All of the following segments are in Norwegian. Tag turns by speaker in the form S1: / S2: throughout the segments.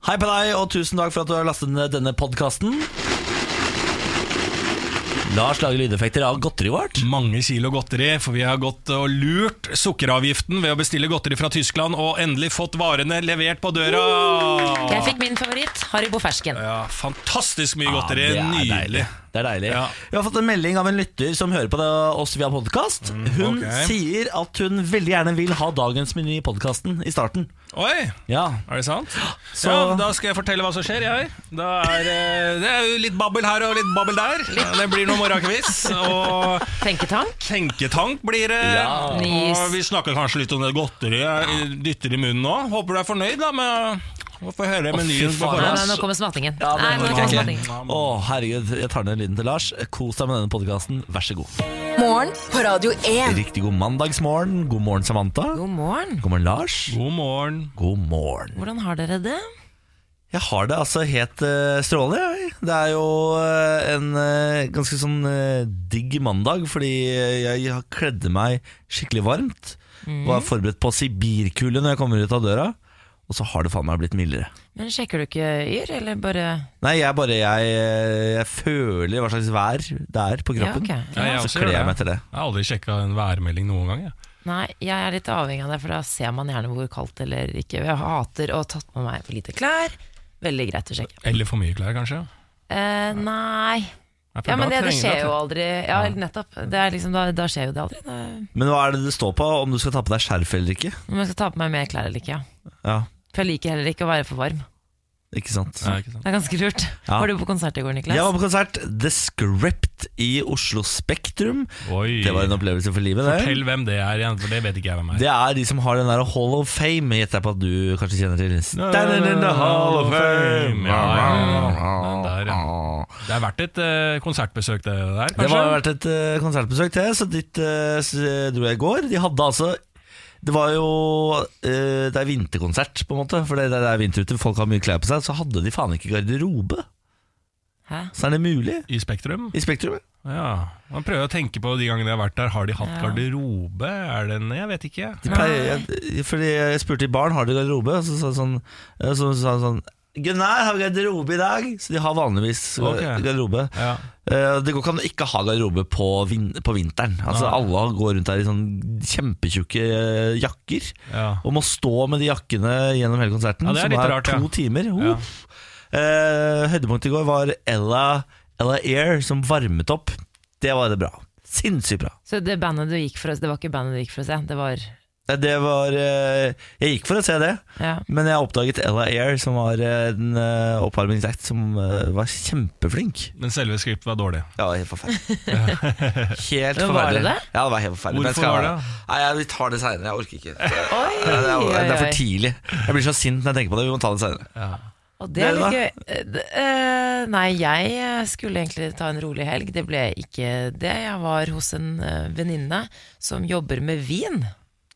S1: Hei på deg, og tusen takk for at du har lastet ned denne podkasten. Lars lager lydeffekter av godteriet vårt.
S2: Mange kilo godteri, for vi har gått og lurt sukkeravgiften ved å bestille godteri fra Tyskland og endelig fått varene levert på døra.
S3: Jeg fikk min favoritt, Haribo fersken.
S2: Ja, fantastisk mye godteri.
S1: Ja, det er
S2: Nydelig.
S1: Deilig. Det er deilig.
S2: Ja.
S1: Vi har fått en melding av en lytter som hører på det, oss via podkast. Hun
S2: Mm, ok.
S1: sier at hun veldig gjerne vil ha dagens meny i podkasten i starten.
S2: Oi!
S1: Ja.
S2: Er det sant?
S1: Så-
S2: Ja, da skal jeg fortelle hva som skjer, jeg. Da er, eh, det er jo litt babbel her og litt babbel der. Det blir noe morgenkviss. Og
S3: Tenketank.
S2: tenketank blir det.
S1: Ja.
S3: Nice.
S2: Og vi snakker kanskje litt om det godteriet jeg dytter i munnen nå. Håper du er fornøyd da med å få høre menyen. på
S1: faen,
S3: Nei,
S2: forhånd.
S3: nei, nå kommer smattingen.
S1: Ja, det
S3: nei, nå
S1: orker
S3: kommer
S1: jeg
S3: smattingen.
S1: ikke. Å, herregud. Jeg tar ned lyden til Lars. Kos deg med denne podkasten. Vær så god.
S4: Morgen på Radio 1.
S1: Riktig god mandagsmorgen. God morgen, Samantha.
S3: God morgen.
S1: God morgen, Lars.
S2: God morgen.
S1: God morgen.
S3: Hvordan har dere det?
S1: Jeg har det altså helt eh, strålende. jeg. Det er jo eh, en eh, ganske sånn eh, digg mandag, fordi eh, jeg, jeg kledde meg skikkelig varmt.
S3: Mm.
S1: Var forberedt på sibirkulde når jeg kommer ut av døra. Og så har det faen meg blitt mildere.
S3: Men Sjekker du ikke Yr, eller bare
S1: Nei, jeg bare jeg, eh, jeg føler hva slags vær det er på kroppen.
S3: Ja, ok.
S2: jeg
S1: Så
S2: gjør
S1: kler jeg meg etter det.
S2: Jeg har aldri sjekka en værmelding noen gang. Jeg.
S3: Nei, jeg er litt avhengig av det, for da ser man gjerne hvor kaldt eller ikke. Jeg hater å ha tatt med meg for lite klær. Veldig greit å sjekke.
S2: Eller for mye klær, kanskje.
S3: Eh, nei
S2: Nei, for
S3: Ja,
S2: da
S3: men det, det
S2: trenger
S3: skjer
S2: jeg-
S3: jo aldri. Ja, nettopp. Det er liksom, da, da skjer jo det aldri. Da,
S1: Men hva er det det står på, om du skal ta på deg skjerf eller ikke?
S3: om jeg skal ta på meg mer klær eller ikke. Ja.
S1: Ja,
S3: For jeg liker heller ikke å være for varm.
S1: ikke sant?
S2: Ja, ikke sant.
S3: Det er ganske lurt.
S1: Ja.
S3: Var du på konsert i går, Niklas?
S1: Jeg var på konsert The Script i Oslo Spektrum.
S2: Oi.
S1: Det var en opplevelse for livet. det.
S2: Fortell hvem det er igjen, for det vet ikke jeg hvem er.
S1: Det er de som har den der Hall of Fame, gjetter jeg på at du kanskje kjenner til. Standing in the Hall of Fame
S2: Ja, ja, ja. Der, ja. Det er verdt et eh, konsertbesøk, det der,
S1: Det var
S2: kanskje?
S1: vært et eh, konsertbesøk til, så dit eh, s- dro jeg i går. De hadde altså Det var jo eh, Det er vinterkonsert, på en måte, for det, det er vinter ute, folk har mye klær på seg. Så hadde de faen ikke garderobe.
S3: Hæ?
S1: Så er det mulig
S2: I Spektrum?
S1: i Spektrum.
S2: Ja. Man prøver å tenke på de gangene jeg har vært der. Har de hatt
S3: Ja.
S2: garderobe? Er det en Jeg vet ikke.
S1: De pleier, jeg, fordi jeg spurte i baren har de garderobe, og så sa de sånn, eh, så sa de sånn Gunnar har garderobe i dag, så de har vanligvis eh,
S2: Ok.
S1: garderobe.
S2: Ja.
S1: Eh, Det går ikke an å ikke ha garderobe på, vin på vinteren. Altså
S2: Nei.
S1: Alle går rundt her i sånn kjempetjukke eh, jakker
S2: Ja.
S1: og må stå med de jakkene gjennom hele konserten,
S2: Ja, det er
S1: som
S2: litt
S1: er
S2: rart,
S1: to
S2: ja.
S1: timer.
S2: Ja.
S1: Uff. Eh, høydepunktet i går var Ella, Ella Air som varmet opp. Det var det bra. Sinnssykt bra.
S3: Så det bandet du gikk for å Det var ikke bandet du gikk for å se, det var
S1: Nei, Det var eh, Jeg gikk for å se det,
S3: ja.
S1: men jeg oppdaget Ella Air, som var eh, en eh, oppvarmingsakt som eh, var kjempeflink.
S2: Men selve skriptet var dårlig.
S1: Ja, helt forferdelig. helt
S3: Men
S1: forferdelig.
S3: var det det?
S1: Ja, det var helt forferdelig. Men
S2: Hvorfor
S1: skal-
S2: var det?
S1: Nei, jeg, vi tar det seinere. Jeg orker ikke.
S3: Oi,
S1: Det er,
S3: oi,
S1: det er for
S3: oi.
S1: tidlig. Jeg blir så sint når jeg tenker på det. Vi må ta det seinere.
S3: Og det er
S1: Dere
S3: litt gøy. Eh, d- eh, nei, jeg eh, skulle egentlig ta en rolig helg. Det ble ikke det. Jeg var hos en eh, venninne som jobber med vin.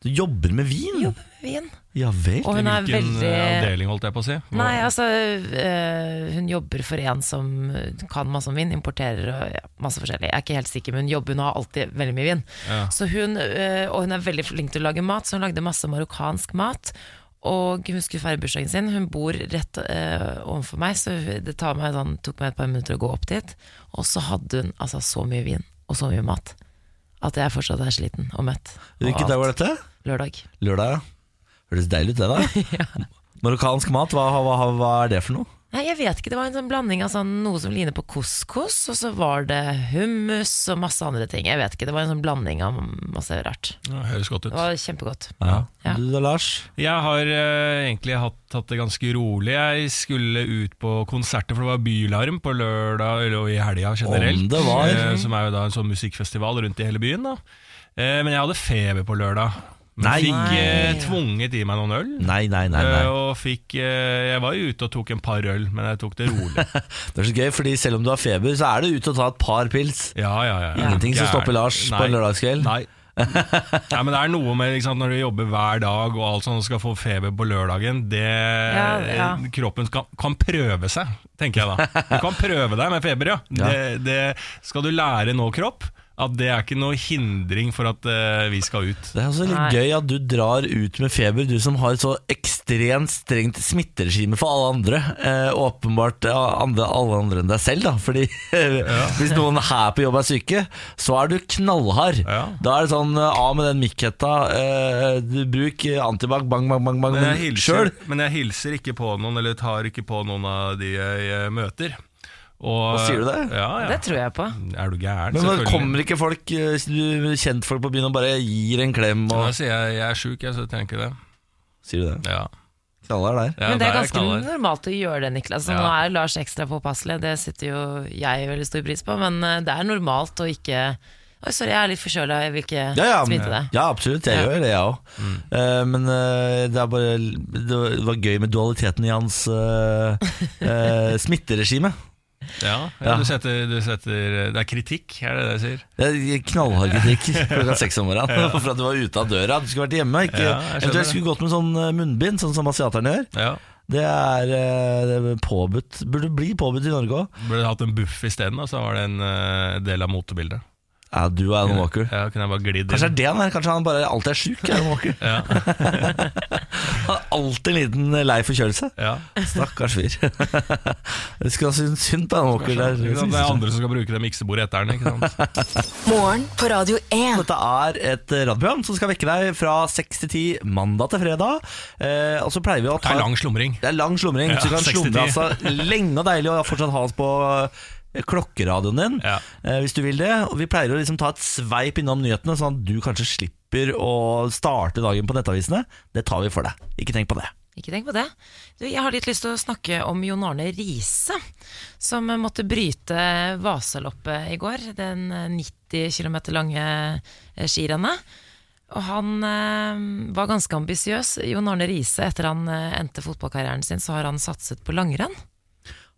S1: Du jobber med vin?
S3: Jobber med vin.
S1: Ja vel.
S3: Og hun er
S2: Hvilken eh,
S3: veldig
S2: avdeling, holdt jeg på å si? Hvor-
S3: Nei, altså eh, Hun jobber for en som eh, kan masse om vin, importerer og ja, masse forskjellig. Jeg er ikke helt sikker, men hun jobber, hun har alltid veldig mye vin.
S2: Ja.
S3: Så hun, eh, og hun er veldig flink til å lage mat, så hun lagde masse marokkansk mat. Og hun skulle feire bursdagen sin. Hun bor rett eh, ovenfor meg, så det tar meg, sånn, tok meg et par minutter å gå opp dit. Og så hadde hun altså, så mye vin og så mye mat at jeg fortsatt er sliten og mett. og
S1: Hvilken dag var dette?
S3: Lørdag.
S1: Lørdag, ja. Høres deilig ut, det, da. Marokkansk mat, hva, hva, hva er det for noe?
S3: Nei, jeg vet ikke, Det var en sånn blanding av sånn, noe som ligner på couscous, og så var det hummus og masse andre ting. Jeg vet ikke, Det var en sånn blanding av masse rart.
S2: Ja, høres godt ut.
S3: Det var kjempegodt.
S1: Ja.
S3: Ja.
S1: Du da, Lars?
S2: Jeg har eh, egentlig hatt, hatt det ganske rolig. Jeg skulle ut på konserter, for det var bylarm på lørdag eller i helga generelt.
S1: Om det var.
S2: eh, som er jo da en sånn musikkfestival rundt i hele byen. da. Eh, men jeg hadde feber på lørdag. Men
S1: Nei.
S2: fikk eh, tvunget i meg noen øl.
S1: Nei, nei, nei,
S2: Eh,
S1: nei.
S2: Og fikk eh, Jeg var jo ute og tok en par øl, men jeg tok det rolig.
S1: Det er så gøy, fordi selv om du har feber, så er det ute å ta et par pils.
S2: Ja, ja, ja, ja.
S1: Ingenting som
S2: Gæren.
S1: stopper Lars på
S2: Nei.
S1: en lørdagskveld.
S2: Nei. Nei, men det er noe med ikke sant, når du jobber hver dag og alt sånn og skal få feber på lørdagen det,
S3: Ja, ja.
S2: Kroppen skal, kan prøve seg, tenker jeg da. Du kan prøve deg med feber, ja. Det, det skal du lære nå, kropp. At det er ikke noe hindring for at eh, vi skal ut.
S1: Det er også litt
S3: Nei.
S1: gøy at du drar ut med feber, du som har et så ekstremt strengt smitteregime for alle andre. Eh, åpenbart eh, andre, alle andre enn deg selv, da. Fordi hvis noen her på jobb er syke, så er du knallhard.
S2: Ja.
S1: Da er det sånn eh, av med den mikkhetta, eh, du- bruk eh, antibac, bang, bang, bang, bang,
S2: Men jeg,
S1: bang
S2: hilser,
S1: sjøl.
S2: men jeg hilser ikke på noen, eller tar ikke på noen av de jeg eh, møter.
S1: Hva sier du det?
S2: Ja, ja.
S3: Det tror jeg på.
S2: Er du gæren?
S1: Men
S2: Selvfølgelig.
S1: kommer ikke folk, eh, du- kjentfolk på byen og bare gir en klem
S2: Ja, Da
S1: og
S2: sier jeg jeg er sjuk, jeg, så tenker jeg det.
S1: Sier du det?
S2: Ja.
S1: Knallhard der.
S2: Ja,
S3: Men det
S2: der
S3: er ganske
S2: knallhard.
S3: normalt å gjøre det, Niklas. Så
S2: Ja.
S3: Nå er Lars ekstra påpasselig, det setter jo jeg veldig stor pris på. Men eh, det er normalt å ikke Oi, sorry, jeg er litt forkjøla, jeg vil ikke
S1: Ja, ja,
S3: smitte deg.
S1: Ja, absolutt. Jeg
S3: Ja.
S1: gjør det, jeg òg.
S2: Mm.
S1: men eh, det, er bare, det var gøy med dualiteten i hans eh, eh, smitteregime.
S2: Ja, ja,
S1: Ja.
S2: Du, setter, du setter Det er kritikk, er det det jeg sier?
S1: Det er Knallhard kritikk klokka seks om morgenen for at du var ute av døra. Du skulle vært hjemme. Ikke,
S2: Ja, jeg skjønner
S1: eventuelt
S2: det.
S1: skulle gått med sånn eh, munnbind, sånn som asiaterne gjør.
S2: Ja.
S1: Det er, eh, det er påbudt. Burde bli påbudt i Norge òg.
S2: Burde hatt en buff isteden, da, så var det en eh, del av motebildet.
S1: Ja, du er Alan Walker.
S2: Ja, kunne jeg bare glidd
S1: Kanskje det er
S2: inn.
S1: det han er. Kanskje han bare alltid er sjuk. Alan Walker.
S2: Ja,
S1: Han er alltid en liten eh, lei forkjølelse.
S2: ja.
S1: Stakkars fyr. Jeg skulle ha syntes synd på Alan Walker. der.
S2: Ikke sant? Det er andre som skal bruke det miksebordet etter den. Ikke sant?
S4: Morgen på Radio 1.
S1: Dette er et radioprogram som skal vekke deg fra 6 til 10 mandag til fredag. Eh, og så pleier vi å
S2: Det
S1: ta
S2: er lang slumring.
S1: Det er lang slumring,
S2: Ja,
S1: så du kan
S2: 6 til
S1: slumre
S2: 10.
S1: altså, lenge og deilig og fortsatt ha oss på eh, klokkeradioen din.
S2: Ja.
S1: Eh, hvis du vil det. Og vi pleier å liksom ta et sveip innom nyhetene, sånn at du kanskje slipper å starte dagen på nettavisene. Det tar vi for deg. Ikke tenk på det.
S3: Ikke tenk på det. Du, jeg har litt lyst til å snakke om Jon Arne Riise, som måtte bryte Vasaloppet i går. Den eh, 90 km lange eh, skirennet. Og han eh, var ganske ambisiøs. Jon Arne Riise, etter han eh, endte fotballkarrieren sin, så har han satset på langrenn.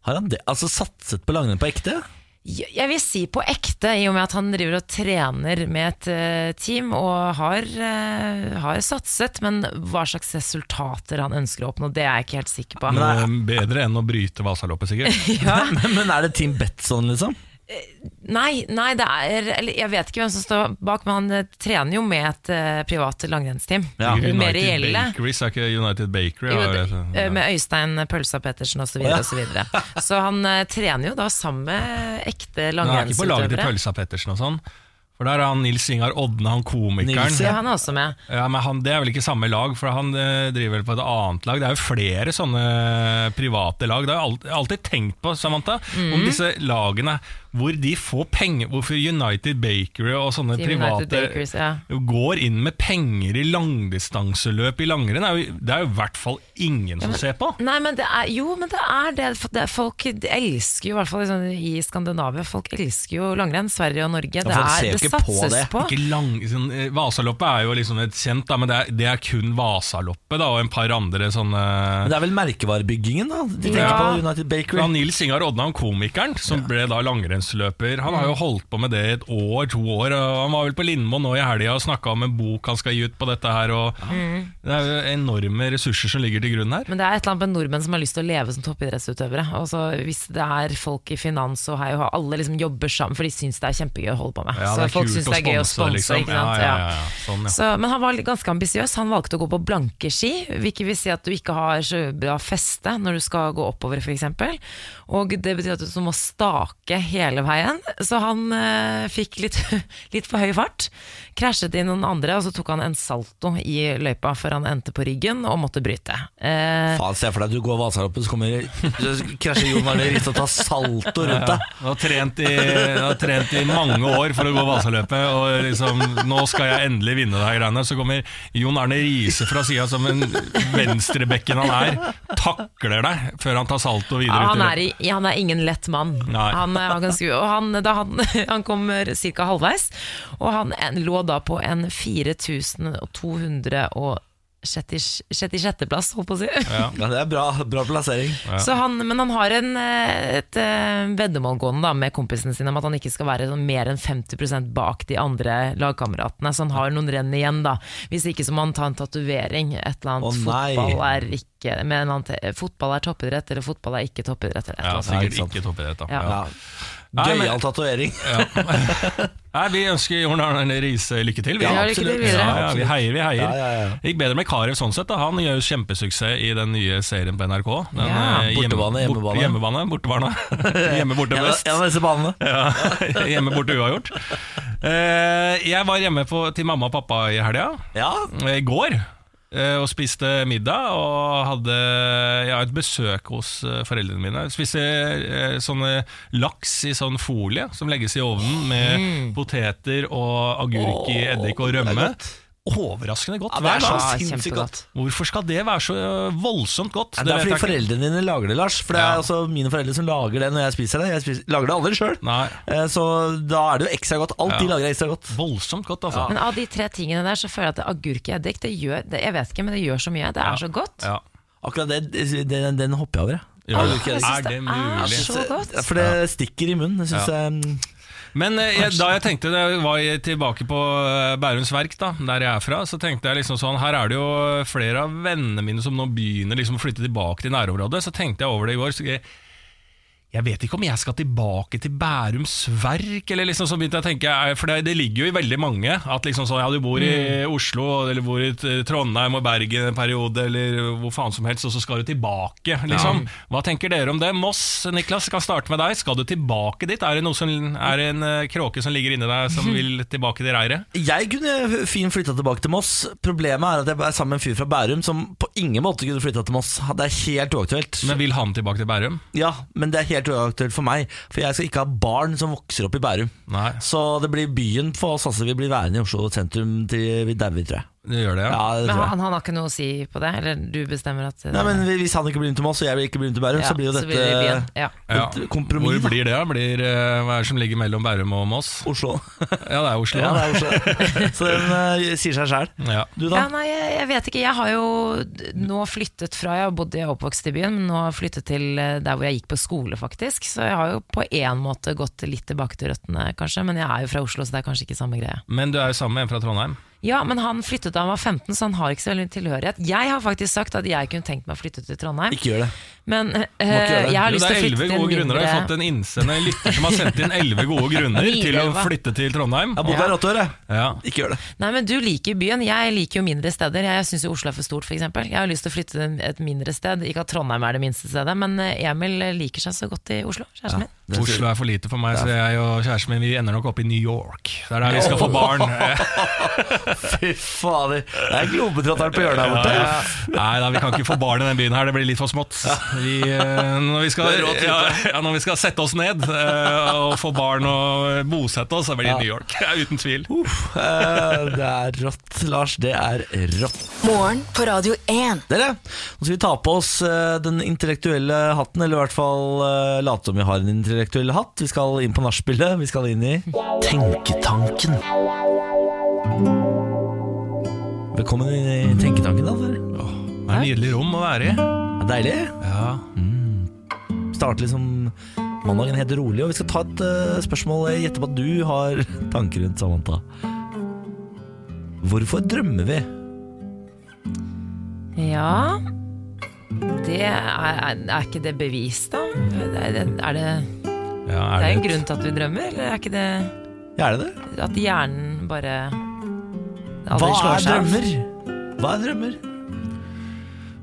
S1: Har han det? Altså satset på langrenn på ekte?
S3: Jeg jeg vil si på ekte, i og med at han driver og trener med et eh, team og har, eh, har satset, men hva slags resultater han ønsker å oppnå, det er jeg ikke helt sikker på.
S2: Noe bedre enn å bryte Vasaloppet, sikkert.
S3: ja.
S1: Men er det Team Betson, liksom?
S3: Nei, nei det er, eller jeg vet ikke hvem som står bak, men han eh, trener jo med et eh, privat langrennsteam.
S1: Ja.
S3: Med
S2: United
S3: reelle.
S2: Bakeries er ikke United Bakery.
S3: Jo,
S2: har jeg-
S3: det- eh, med Øystein Pølsa Pettersen osv. Så, videre, og så, videre. så han eh, trener jo da sammen med ekte
S2: Men Han er ikke på laget til
S3: langrennsutøvere.
S2: Pølsa Pettersen og sånn. For der er han Nils Ingar Odne, han komikeren.
S1: Nils,
S3: Ja, han er også med.
S2: Ja, men han, Det er vel ikke samme lag, for han eh, driver vel på et annet lag. Det er jo flere sånne private lag. Det har jeg alt- alltid tenkt på, Samantha,
S3: Mhm.
S2: om disse lagene hvor de får penger. Hvorfor United Bakery og sånne
S3: Team United
S2: private
S3: Bakeries, ja.
S2: går inn med penger i langdistanseløp i langrenn. Det er jo- Det er jo i hvert fall ingen som ser på.
S3: Nei, men det er, jo, men det er det. For det er- Folk elsker jo, i hvert fall liksom, i Skandinavia, folk elsker jo langrenn. Sverige og Norge. Det,
S1: folk ser
S3: er,
S1: jo
S3: det
S1: ikke på
S3: satses
S1: det.
S3: på.
S2: Ikke lang, sånn, eh, Vasaloppet er jo liksom et kjent, da, men det er, det er kun Vasaloppet da, og en par andre sånne
S1: Men det er vel merkevarebyggingen, da? De tenker
S2: Ja.
S1: på United Bakery.
S2: Ja, Nils Ingar Odnan, komikeren, som ble da langrennsløper, han
S3: Mm.
S2: har jo holdt på med det i et år, to år. og Han var vel på Lindmo nå i helga og snakka om en bok han skal gi ut på dette her. Og
S3: Mm.
S2: Det er jo enorme ressurser som ligger til grunn her.
S3: Men det er et eller annet med nordmenn som har lyst til å leve som toppidrettsutøvere. Og så hvis det er folk i finans og hei og hå, alle liksom jobber sammen, for de syns det er kjempegøy å holde på med.
S2: Ja,
S3: så folk syns det er gøy å sponse,
S2: liksom.
S3: ikke sant.
S2: Ja, ja, ja, ja. Sånn, ja.
S3: Så, men han var litt- ganske ambisiøs. Han valgte å gå på blanke ski, hvilket vil si at du ikke har så bra feste når du skal gå oppover, f.eks. Og det betyr at du må stake hele veien. Så han eh, fikk litt, litt for høy fart, krasjet i noen andre, og så tok han en salto i løypa før han endte på ryggen og måtte bryte. Eh,
S1: Faen, se for deg at du går Vasaloppet, så kommer så krasjer Jon Arne Riise og tar salto rundt deg.
S2: Han har trent, i- han har trent i mange år for å gå Vassaløpet, og liksom 'nå skal jeg endelig vinne det her greiene', så kommer Jon Arne Riise fra sida som en venstrebekken han er, takler deg før han tar salto videre
S3: Ja,
S2: ut i
S3: han,
S2: løpet.
S3: er, i- ja, han er ingen lett mann.
S2: Nei.
S3: Han, eh, var ganske, og han, da han, han kom ca. halvveis, og han en, lå da på en 4266. plass, holdt på å si.
S1: Ja, det er bra, bra plassering.
S3: Så han, men han har en, eh, et eh, veddemål gående da, med kompisene sine om at han ikke skal være sånn mer enn 50 bak de andre lagkameratene. Så han har noen renn igjen, da. Hvis ikke så må han ta en tatovering. Et eller annet
S1: Å, nei.
S3: fotball er ikke med en eller annen te- Fotball er toppidrett, eller fotball er ikke toppidrett. Eller et
S2: Ja,
S3: eller annet.
S2: sikkert
S1: ikke sant.
S2: ikke toppidrett, da.
S3: Ja.
S2: Ja.
S1: Ja.
S2: Nei, men-
S1: Gøyal tatovering.
S2: Nei, vi ønsker Jon Arne Riise lykke til. vi.
S3: Ja, lykke til videre.
S2: Ja, ja, vi heier, vi heier.
S1: Ja, ja, ja.
S2: Det gikk bedre med Karev sånn sett. Da. Han gjør jo kjempesuksess i den nye serien på NRK. Den,
S3: Ja.
S2: eh, hjemme-
S1: Bortebane,
S2: bort-
S1: hjemmebane.
S2: Hjemmebane, bortebane. Hjemme, borte,
S1: En av-
S2: vest.
S1: en av disse banene.
S2: Ja, hjemme, borte, uavgjort. Eh, Jeg var hjemme på, til mamma og pappa i helga,
S1: Ja.
S2: eh, i går. eh, Og spiste middag og hadde ja, et besøk hos eh, foreldrene mine. Spiste eh, sånne laks i sånn folie som legges i ovnen med
S1: Mm.
S2: poteter og agurk i eddik og rømme. Overraskende godt.
S1: Ja, det
S2: hver
S1: er så
S2: dag.
S3: Ja,
S1: sinnssykt godt.
S2: Hvorfor skal det være så eh, voldsomt godt?
S1: Ja, det er fordi
S2: vet jeg ikke.
S1: foreldrene dine lager det, Lars. For det er
S2: Ja.
S1: altså mine foreldre som lager det når jeg spiser det. Jeg spiser, lager det aldri sjøl.
S2: Nei.
S1: Så da er det jo ekstra godt. Alt de
S2: Ja.
S1: lager er ekstra godt.
S2: Voldsomt godt, altså.
S3: Men av de tre tingene der, så føler jeg at agurk i eddik, det gjør det, Jeg vet ikke, men det gjør så mye. Det er så godt.
S2: Ja.
S1: Akkurat det, den, den hopper jeg over. jeg.
S2: Gjør det.
S3: jeg synes
S2: Er det
S3: Er
S2: mulig?
S3: så godt.
S1: For det stikker i munnen. Det synes jeg mm.
S2: Men eh, jeg, da jeg tenkte det var jeg tilbake på eh, Bærums Verk, da, der jeg er fra, så tenkte jeg liksom sånn Her er det jo flere av vennene mine som nå begynner liksom å flytte tilbake til nærområdet. Så tenkte jeg over det i går. Så jeg, jeg vet ikke om jeg skal tilbake til Bærums Verk, eller liksom så begynte jeg å tenke eh, For det, det ligger jo i veldig mange at liksom sånn Ja, du bor i
S1: Mm.
S2: Oslo, eller bor i eh, Trondheim og Bergen en periode, eller hvor faen som helst, og så skal du tilbake, liksom. Hva tenker dere om det? Moss, Niklas, kan starte med deg. Skal du tilbake dit? Er det, noe som, er det en eh, kråke som ligger inni deg som vil tilbake til reiret?
S1: Jeg kunne fint flytta tilbake til Moss. Problemet er at jeg er sammen med en fyr fra Bærum som på ingen måte kunne flytta til Moss. Det er helt uaktuelt.
S2: Men vil han tilbake til Bærum?
S1: Ja, men det er helt uaktuelt for meg. For jeg skal ikke ha barn som vokser opp i Bærum.
S2: Nei,
S1: Så det blir byen for oss. Altså, vi blir værende i Oslo sentrum til vi dauer, tror jeg.
S2: det gjør det,
S1: Ja,
S2: ja.
S1: det
S3: Men
S1: tror jeg.
S3: han, han har ikke noe å si på det? Eller du bestemmer at eh,
S1: Nei, men Hvis han ikke blir med til Moss, og jeg ikke blir med til Bærum,
S3: ja,
S1: så blir jo dette
S3: det i byen. Ja.
S2: Ja.
S1: et kompromiss.
S2: Hvor
S1: da.
S2: blir det? da? Blir, eh, hva er det som ligger mellom Bærum og Moss?
S1: Oslo.
S2: Ja, det er Oslo.
S1: Ja,
S2: da.
S1: det er Oslo. Så den eh, sier seg sjæl.
S2: Ja.
S1: Du,
S3: Ja,
S1: da?
S3: nei, jeg, jeg vet ikke. Jeg har jo d- nå flyttet fra Jeg har bodd i oppvokst i byen, men nå har jeg flyttet til eh, der hvor jeg gikk på skole, faktisk. Så jeg har jo på én måte gått litt tilbake til røttene, kanskje. Men jeg er jo fra Oslo, så det er kanskje ikke samme greie.
S2: Men du er jo sammen med en fra Trondheim.
S3: Ja, men han flyttet da han var 15, så han har ikke så veldig tilhørighet. Jeg har faktisk sagt at jeg kunne tenkt meg å flytte til Trondheim,
S1: Ikke gjør det.
S3: men eh,
S1: gjøre det.
S3: jeg har
S2: Jo, det
S3: lyst til
S2: er
S3: å flytte
S2: elleve
S3: til
S2: gode
S3: en
S2: grunner. og Jeg har fått
S3: mindre
S2: en innsende lytter som har sendt inn elleve gode grunner til å
S3: Elleve.
S2: flytte til Trondheim.
S1: Jeg har bodd
S3: Ja.
S1: her åtte år, jeg.
S2: Ja.
S1: Ikke gjør det.
S3: Nei, men du liker jo byen. Jeg liker jo mindre steder. Jeg syns jo Oslo er for stort, f.eks. Jeg har lyst til å flytte til et mindre sted. Ikke at Trondheim er det minste stedet, men eh, Emil liker seg så godt i Oslo, kjæresten min.
S1: Det tror jeg.
S2: Oslo er for lite for meg, så jeg og kjæresten min vi ender nok opp i New York. Det er der vi skal få barn.
S1: Fy fader. Det er globetrotteren på hjørnet her borte.
S2: Nei da, vi kan ikke få barn i den byen her, det blir litt for smått. Vi, eh, når, vi skal, ja, ja, når vi skal sette oss ned eh, og få barn og bosette oss, så blir det New York. Ja, Uten tvil.
S1: Uff, eh, det er rått, Lars. Det er rått.
S4: Morgen på Radio 1.
S1: Dere, nå skal vi ta på oss eh, den intellektuelle hatten, eller i hvert fall eh, late som vi har en intellektuell hatt. Vi skal inn på nachspielet. Vi skal inn i Tenketanken. Velkommen inn i Tenketanken, da. dere.
S2: Det er et nydelig rom å være i.
S1: Ja, Deilig. Mm.
S2: Ja.
S1: Starte liksom mandagen helt rolig, og vi skal ta et eh, spørsmål jeg gjetter på at du har tanker rundt, Samantha. Hvorfor drømmer vi?
S3: Ja det er, er, er ikke det bevis, da? Er det, er det,
S2: Ja,
S3: det er en
S2: et-
S3: grunn til at vi drømmer, eller er ikke det
S1: Ja, er det det?
S3: at hjernen bare
S1: Hva
S3: aldri slår
S1: er
S3: seg av?
S1: drømmer? Hva er drømmer?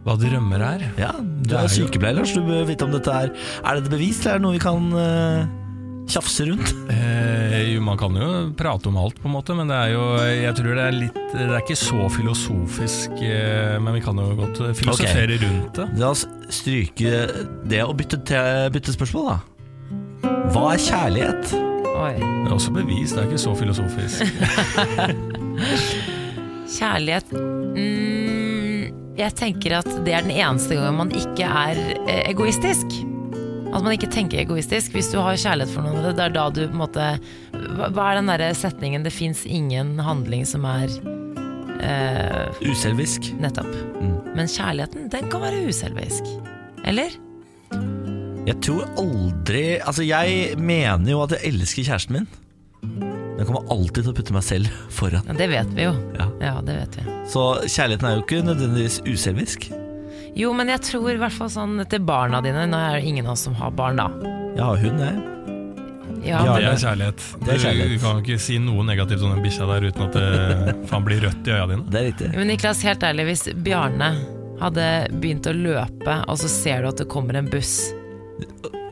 S2: Hva drømmer er?
S1: Ja, du
S2: Det
S1: er
S2: er jo-
S1: sykepleier, Lars. Du bør vite om dette er Er dette bevis, eller er det noe vi kan eh, tjafse rundt?
S2: Eh, jo, man kan jo prate om alt, på en måte, men det er jo Jeg tror det er litt Det er ikke så filosofisk, eh, men vi kan jo godt filosofere rundt det.
S1: La oss stryke det og bytte, te bytte spørsmål, da. Hva er kjærlighet?
S3: Oi.
S2: Det er også bevis, det er ikke så filosofisk.
S3: Kjærlighet mm, Jeg tenker at det er den eneste gangen man ikke er eh, egoistisk. At man ikke tenker egoistisk. Hvis du har kjærlighet for noen, det er da du på en måte Hva hva er den derre setningen 'det fins ingen handling som er eh,
S1: Uselvisk.
S3: Nettopp. Men kjærligheten, den kan være uselvisk. Eller?
S1: Jeg tror aldri Altså, jeg mener jo at jeg elsker kjæresten min. Men jeg kommer alltid til å putte meg selv foran.
S3: Ja, det vet vi jo.
S1: Ja.
S3: Ja, det vet vi.
S1: Så kjærligheten er jo ikke nødvendigvis uselvisk.
S3: Jo, men jeg tror i hvert fall sånn til barna dine Nå er det ingen av oss som har barn, da.
S1: Jeg har hund, jeg.
S3: Ja,
S1: Ja,
S2: Det
S3: men-
S2: er kjærlighet.
S1: Det er kjærlighet.
S2: Du, du kan ikke si noe negativt om den bikkja der uten at det faen blir rødt i øya dine.
S1: Det er riktig.
S3: Men Niklas, helt ærlig, hvis Bjarne hadde begynt å løpe, og så ser du at det kommer en buss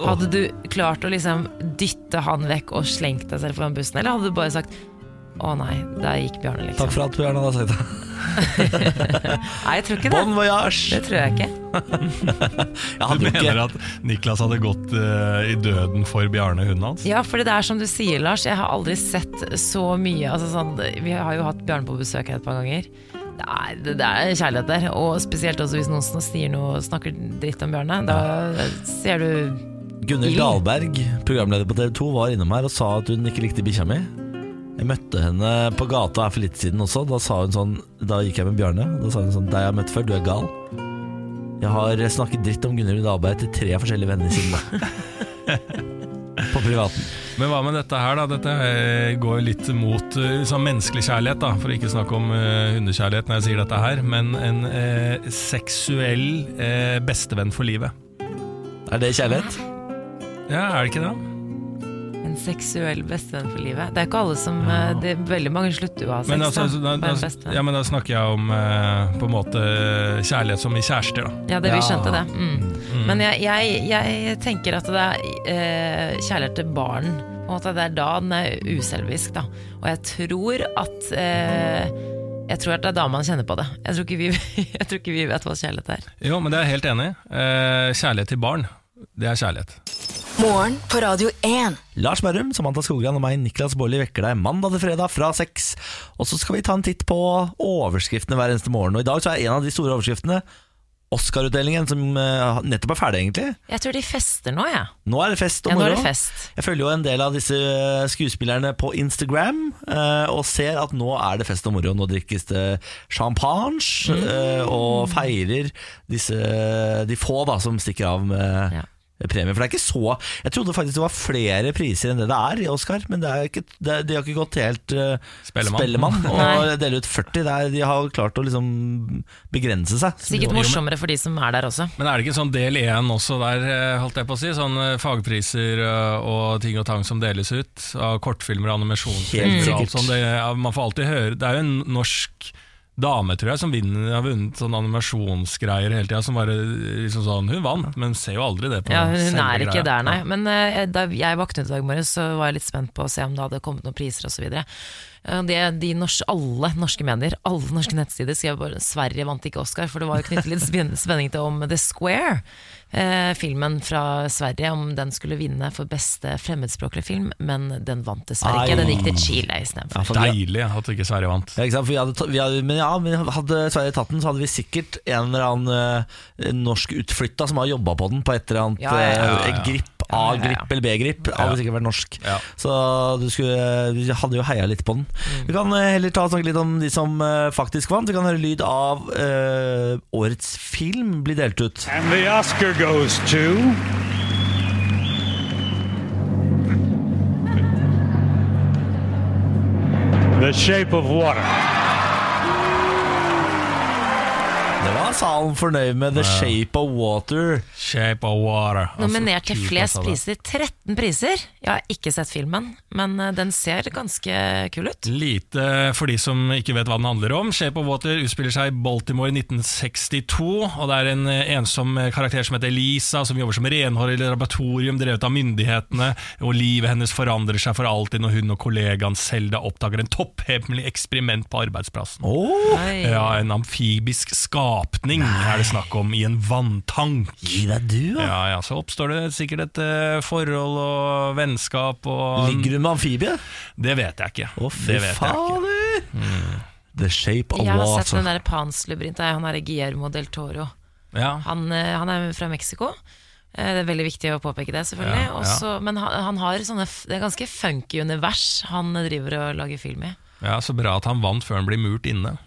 S3: Hadde du klart å liksom dytte han vekk og slengt deg selv foran bussen, eller hadde du bare sagt å nei, der gikk Bjarne, liksom.
S1: Takk for alt Bjørn hadde sagt.
S3: Nei, jeg tror ikke det.
S1: Bon voyage!
S3: Det tror jeg ikke.
S1: Jeg
S2: Du
S1: hadde jo
S2: mener
S1: ikke
S2: at Niklas hadde gått eh, i døden for Bjarne, hunden hans?
S3: Ja, for det er som du sier, Lars, jeg har aldri sett så mye altså, sånn, Vi har jo hatt Bjarne på besøk her et par ganger. Det er, det, det er kjærlighet der. Og spesielt også hvis noen sn- sier noe, snakker dritt om Bjarne. Da ser du
S1: Gunnhild Dahlberg, programleder på TV 2, var innom her og sa at hun ikke likte bikkja mi. Jeg møtte henne på gata her for litt siden også. Da, sa hun sånn, da gikk jeg med Bjarne. Da sa hun sånn Deg har jeg møtt før, du er gal. Jeg har snakket dritt om Gunnhild Dahlberg til tre forskjellige venner siden da. på privaten.
S2: Men hva med dette her, da? Dette eh, går jo litt mot eh, sånn menneskelig kjærlighet, da. For å ikke snakke om eh, hundekjærlighet når jeg sier dette her. Men en eh, seksuell eh, bestevenn for livet.
S1: Er det kjærlighet?
S2: Ja, er det ikke det?
S3: en seksuell bestevenn for livet. Det er ikke alle som eh, det, Veldig mange slutter jo å ha sex.
S2: Men, altså,
S3: da,
S2: da,
S3: med en
S2: da,
S3: bestevenn.
S2: ja, men da snakker jeg om eh, på en måte kjærlighet som i kjærester, da.
S3: Ja, det, vi
S1: Ja.
S3: skjønte det. Mm. Men jeg, jeg, jeg tenker at det er eh, kjærlighet til barn. På en måte, det er da den er uselvisk, da. Og jeg tror at eh, Jeg tror at det er da man kjenner på det. Jeg tror ikke vi, jeg tror ikke vi vet hva kjærlighet er.
S2: Jo, men det er jeg helt enig i. Eh, kjærlighet til barn, det er kjærlighet.
S4: Morgen på Radio 1.
S1: Lars Berrum, Samantha Skogran og meg, Niklas Baarli, vekker deg mandag til fredag fra seks. Og så skal vi ta en titt på overskriftene hver eneste morgen. Og i dag så er en av de store overskriftene Oscar-utdelingen, som eh, nettopp er ferdig, egentlig.
S3: Jeg tror de fester nå, jeg.
S1: Nå er det fest og
S3: Ja, nå er
S1: moro.
S3: det fest.
S1: Jeg følger jo en del av disse eh, skuespillerne på Instagram, eh, og ser at nå er det fest og moro. Nå drikkes det champagne,
S3: Mm.
S1: eh, og feirer disse, de få da, som stikker av med
S3: Ja.
S1: premie. For det er ikke så Jeg trodde faktisk det var flere priser enn det det er i Oscar, men det er ikke, det, de har ikke gått helt eh,
S2: Spellemann.
S1: spellemann
S3: Nei.
S1: og dele ut 40. Det er, de har klart å liksom begrense seg.
S3: Sikkert morsommere for de som er der også.
S2: Men er det ikke sånn del én også der, eh, holdt jeg på å si? Sånn eh, fagpriser eh, og ting og tang som deles ut av kortfilmer og
S1: Helt
S2: animasjonsfilmer og alt
S1: sikkert.
S2: sånt. Det, ja, man får alltid høre Det er jo en norsk dame, tror jeg, som vinner, har vunnet sånn animasjonsgreier hele tida. Som bare liksom sånn Hun vant, men ser jo aldri det på
S3: Ja, hun
S2: selve
S3: er ikke
S2: greia.
S3: der, nei. Men eh, da jeg våknet i dag morges, så var jeg litt spent på å se om det hadde kommet noen priser osv. Eh, De norsk, alle norske medier, alle norske nettsider skrev bare Sverige vant ikke Oscar, for det var jo knyttet litt spen- spenning til om The Square, eh, filmen fra Sverige, om den skulle vinne for beste fremmedspråklige film, men den vant dessverre ikke. Den gikk til Chile
S1: Ja,
S3: istedenfor.
S1: for vi har-
S2: Deilig at ikke Sverige vant.
S1: Ja, ikke sant? For vi hadde, ta- vi hadde, men ja, men hadde Sverige tatt den, så hadde vi sikkert en eller annen eh, norsk utflytta som har jobba på den på et eller annet
S3: Ja, ja, ja,
S1: eh,
S2: ja.
S1: grip,
S3: Ja, ja, ja.
S1: A-grip eller B-grip. Hadde sikkert vært norsk.
S2: Ja.
S1: Så du, skulle, du hadde jo heia litt på den.
S3: Mm.
S1: Vi kan eh, heller ta og snakke litt om de som eh, faktisk vant. Vi kan høre lyd av eh, årets film bli delt ut.
S5: And the Oscar goes to. The Shape of Water.
S1: Det var salen fornøyd med The Shape of Water.
S2: Shape of water. Altså,
S3: Nominert til
S2: kult,
S3: flest
S2: altså, det.
S3: priser, 13 priser. Jeg har ikke sett filmen, men eh, den ser ganske kul ut.
S2: Lite for de som ikke vet hva den handler om. Shape of Water utspiller seg i Baltimore i 1962, og det er en eh, ensom karakter som heter Lisa, som jobber som renholder i et laboratorium drevet av myndighetene, og livet hennes forandrer seg for alltid når hun og kollegaen Selda oppdager en topphemmelig eksperiment på arbeidsplassen.
S1: Åh,
S3: Oi.
S2: Ja, En amfibisk skap drukning er det snakk om i en vanntank.
S1: Gi deg du, da.
S2: Ja, ja, Så oppstår det sikkert et eh, forhold og vennskap og
S1: Ligger du med amfibie?
S2: Det vet jeg ikke.
S1: Å, fy
S2: det vet jeg ikke.
S1: fader! Mm. The shape of
S3: Jeg har sett den
S1: water.
S3: der Pans-labyrinten. Han er Guillermo del Toro.
S2: Ja.
S3: Han, eh, han er fra Mexico. Eh, Det er veldig viktig å påpeke det, selvfølgelig.
S2: Ja, ja.
S3: Også, men han, han har sånne f- Det er ganske funky univers han driver og lager film i.
S2: ja, Så bra at han vant før han blir murt inne.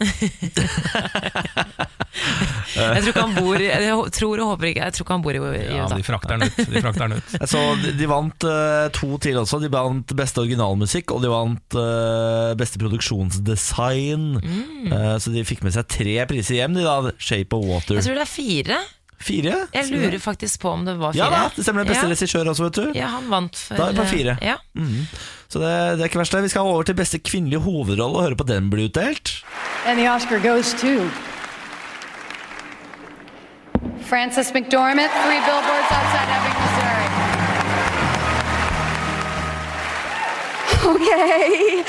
S3: Jeg tror ikke han bor i- Jeg hå- tror og håper ikke Jeg tror ikke han bor i, i
S2: Ja,
S3: USA.
S2: De frakter han ut. De frakter han ut.
S1: Jeg så de, de vant eh, to til også. De vant beste originalmusikk, og de vant eh, beste produksjonsdesign.
S3: Mm.
S1: Eh, så de fikk med seg tre priser hjem, de da. Shape of Water.
S3: Jeg tror det er fire.
S1: Fire?
S3: Jeg lurer faktisk på om det var fire.
S1: Ja da, det stemmer. Beste
S3: Ja.
S1: regissør også, vet du.
S3: Ja, han vant for eh,
S1: Da er det bare fire.
S3: Ja.
S1: Så det, det er ikke verst. det. Vi skal over til beste kvinnelige hovedrolle og høre på den bli utdelt.
S6: And the Oscar goes to Frances McDormand, Three Billboards Outside Ebbing, Missouri.
S7: Okay.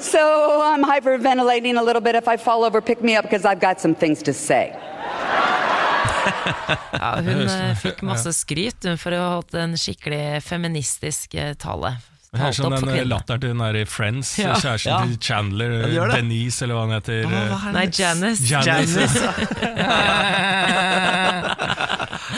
S7: so I'm hyperventilating a little bit. If I fall over, pick me up because I've got some things to say.
S3: Ja, hun eh, fikk masse skryt hun, for å ha holdt en skikkelig feministisk eh, tale.
S2: Det er
S3: Talt
S2: som
S3: opp for
S2: den eh,
S3: kvinner.
S2: latteren til hun er i Friends,
S3: Ja. Ah.
S2: kjæresten
S1: Ja.
S2: til Chandler,
S1: det gjør det.
S2: Denise, eller hva han heter.
S3: Nei, Janice.
S2: Janice.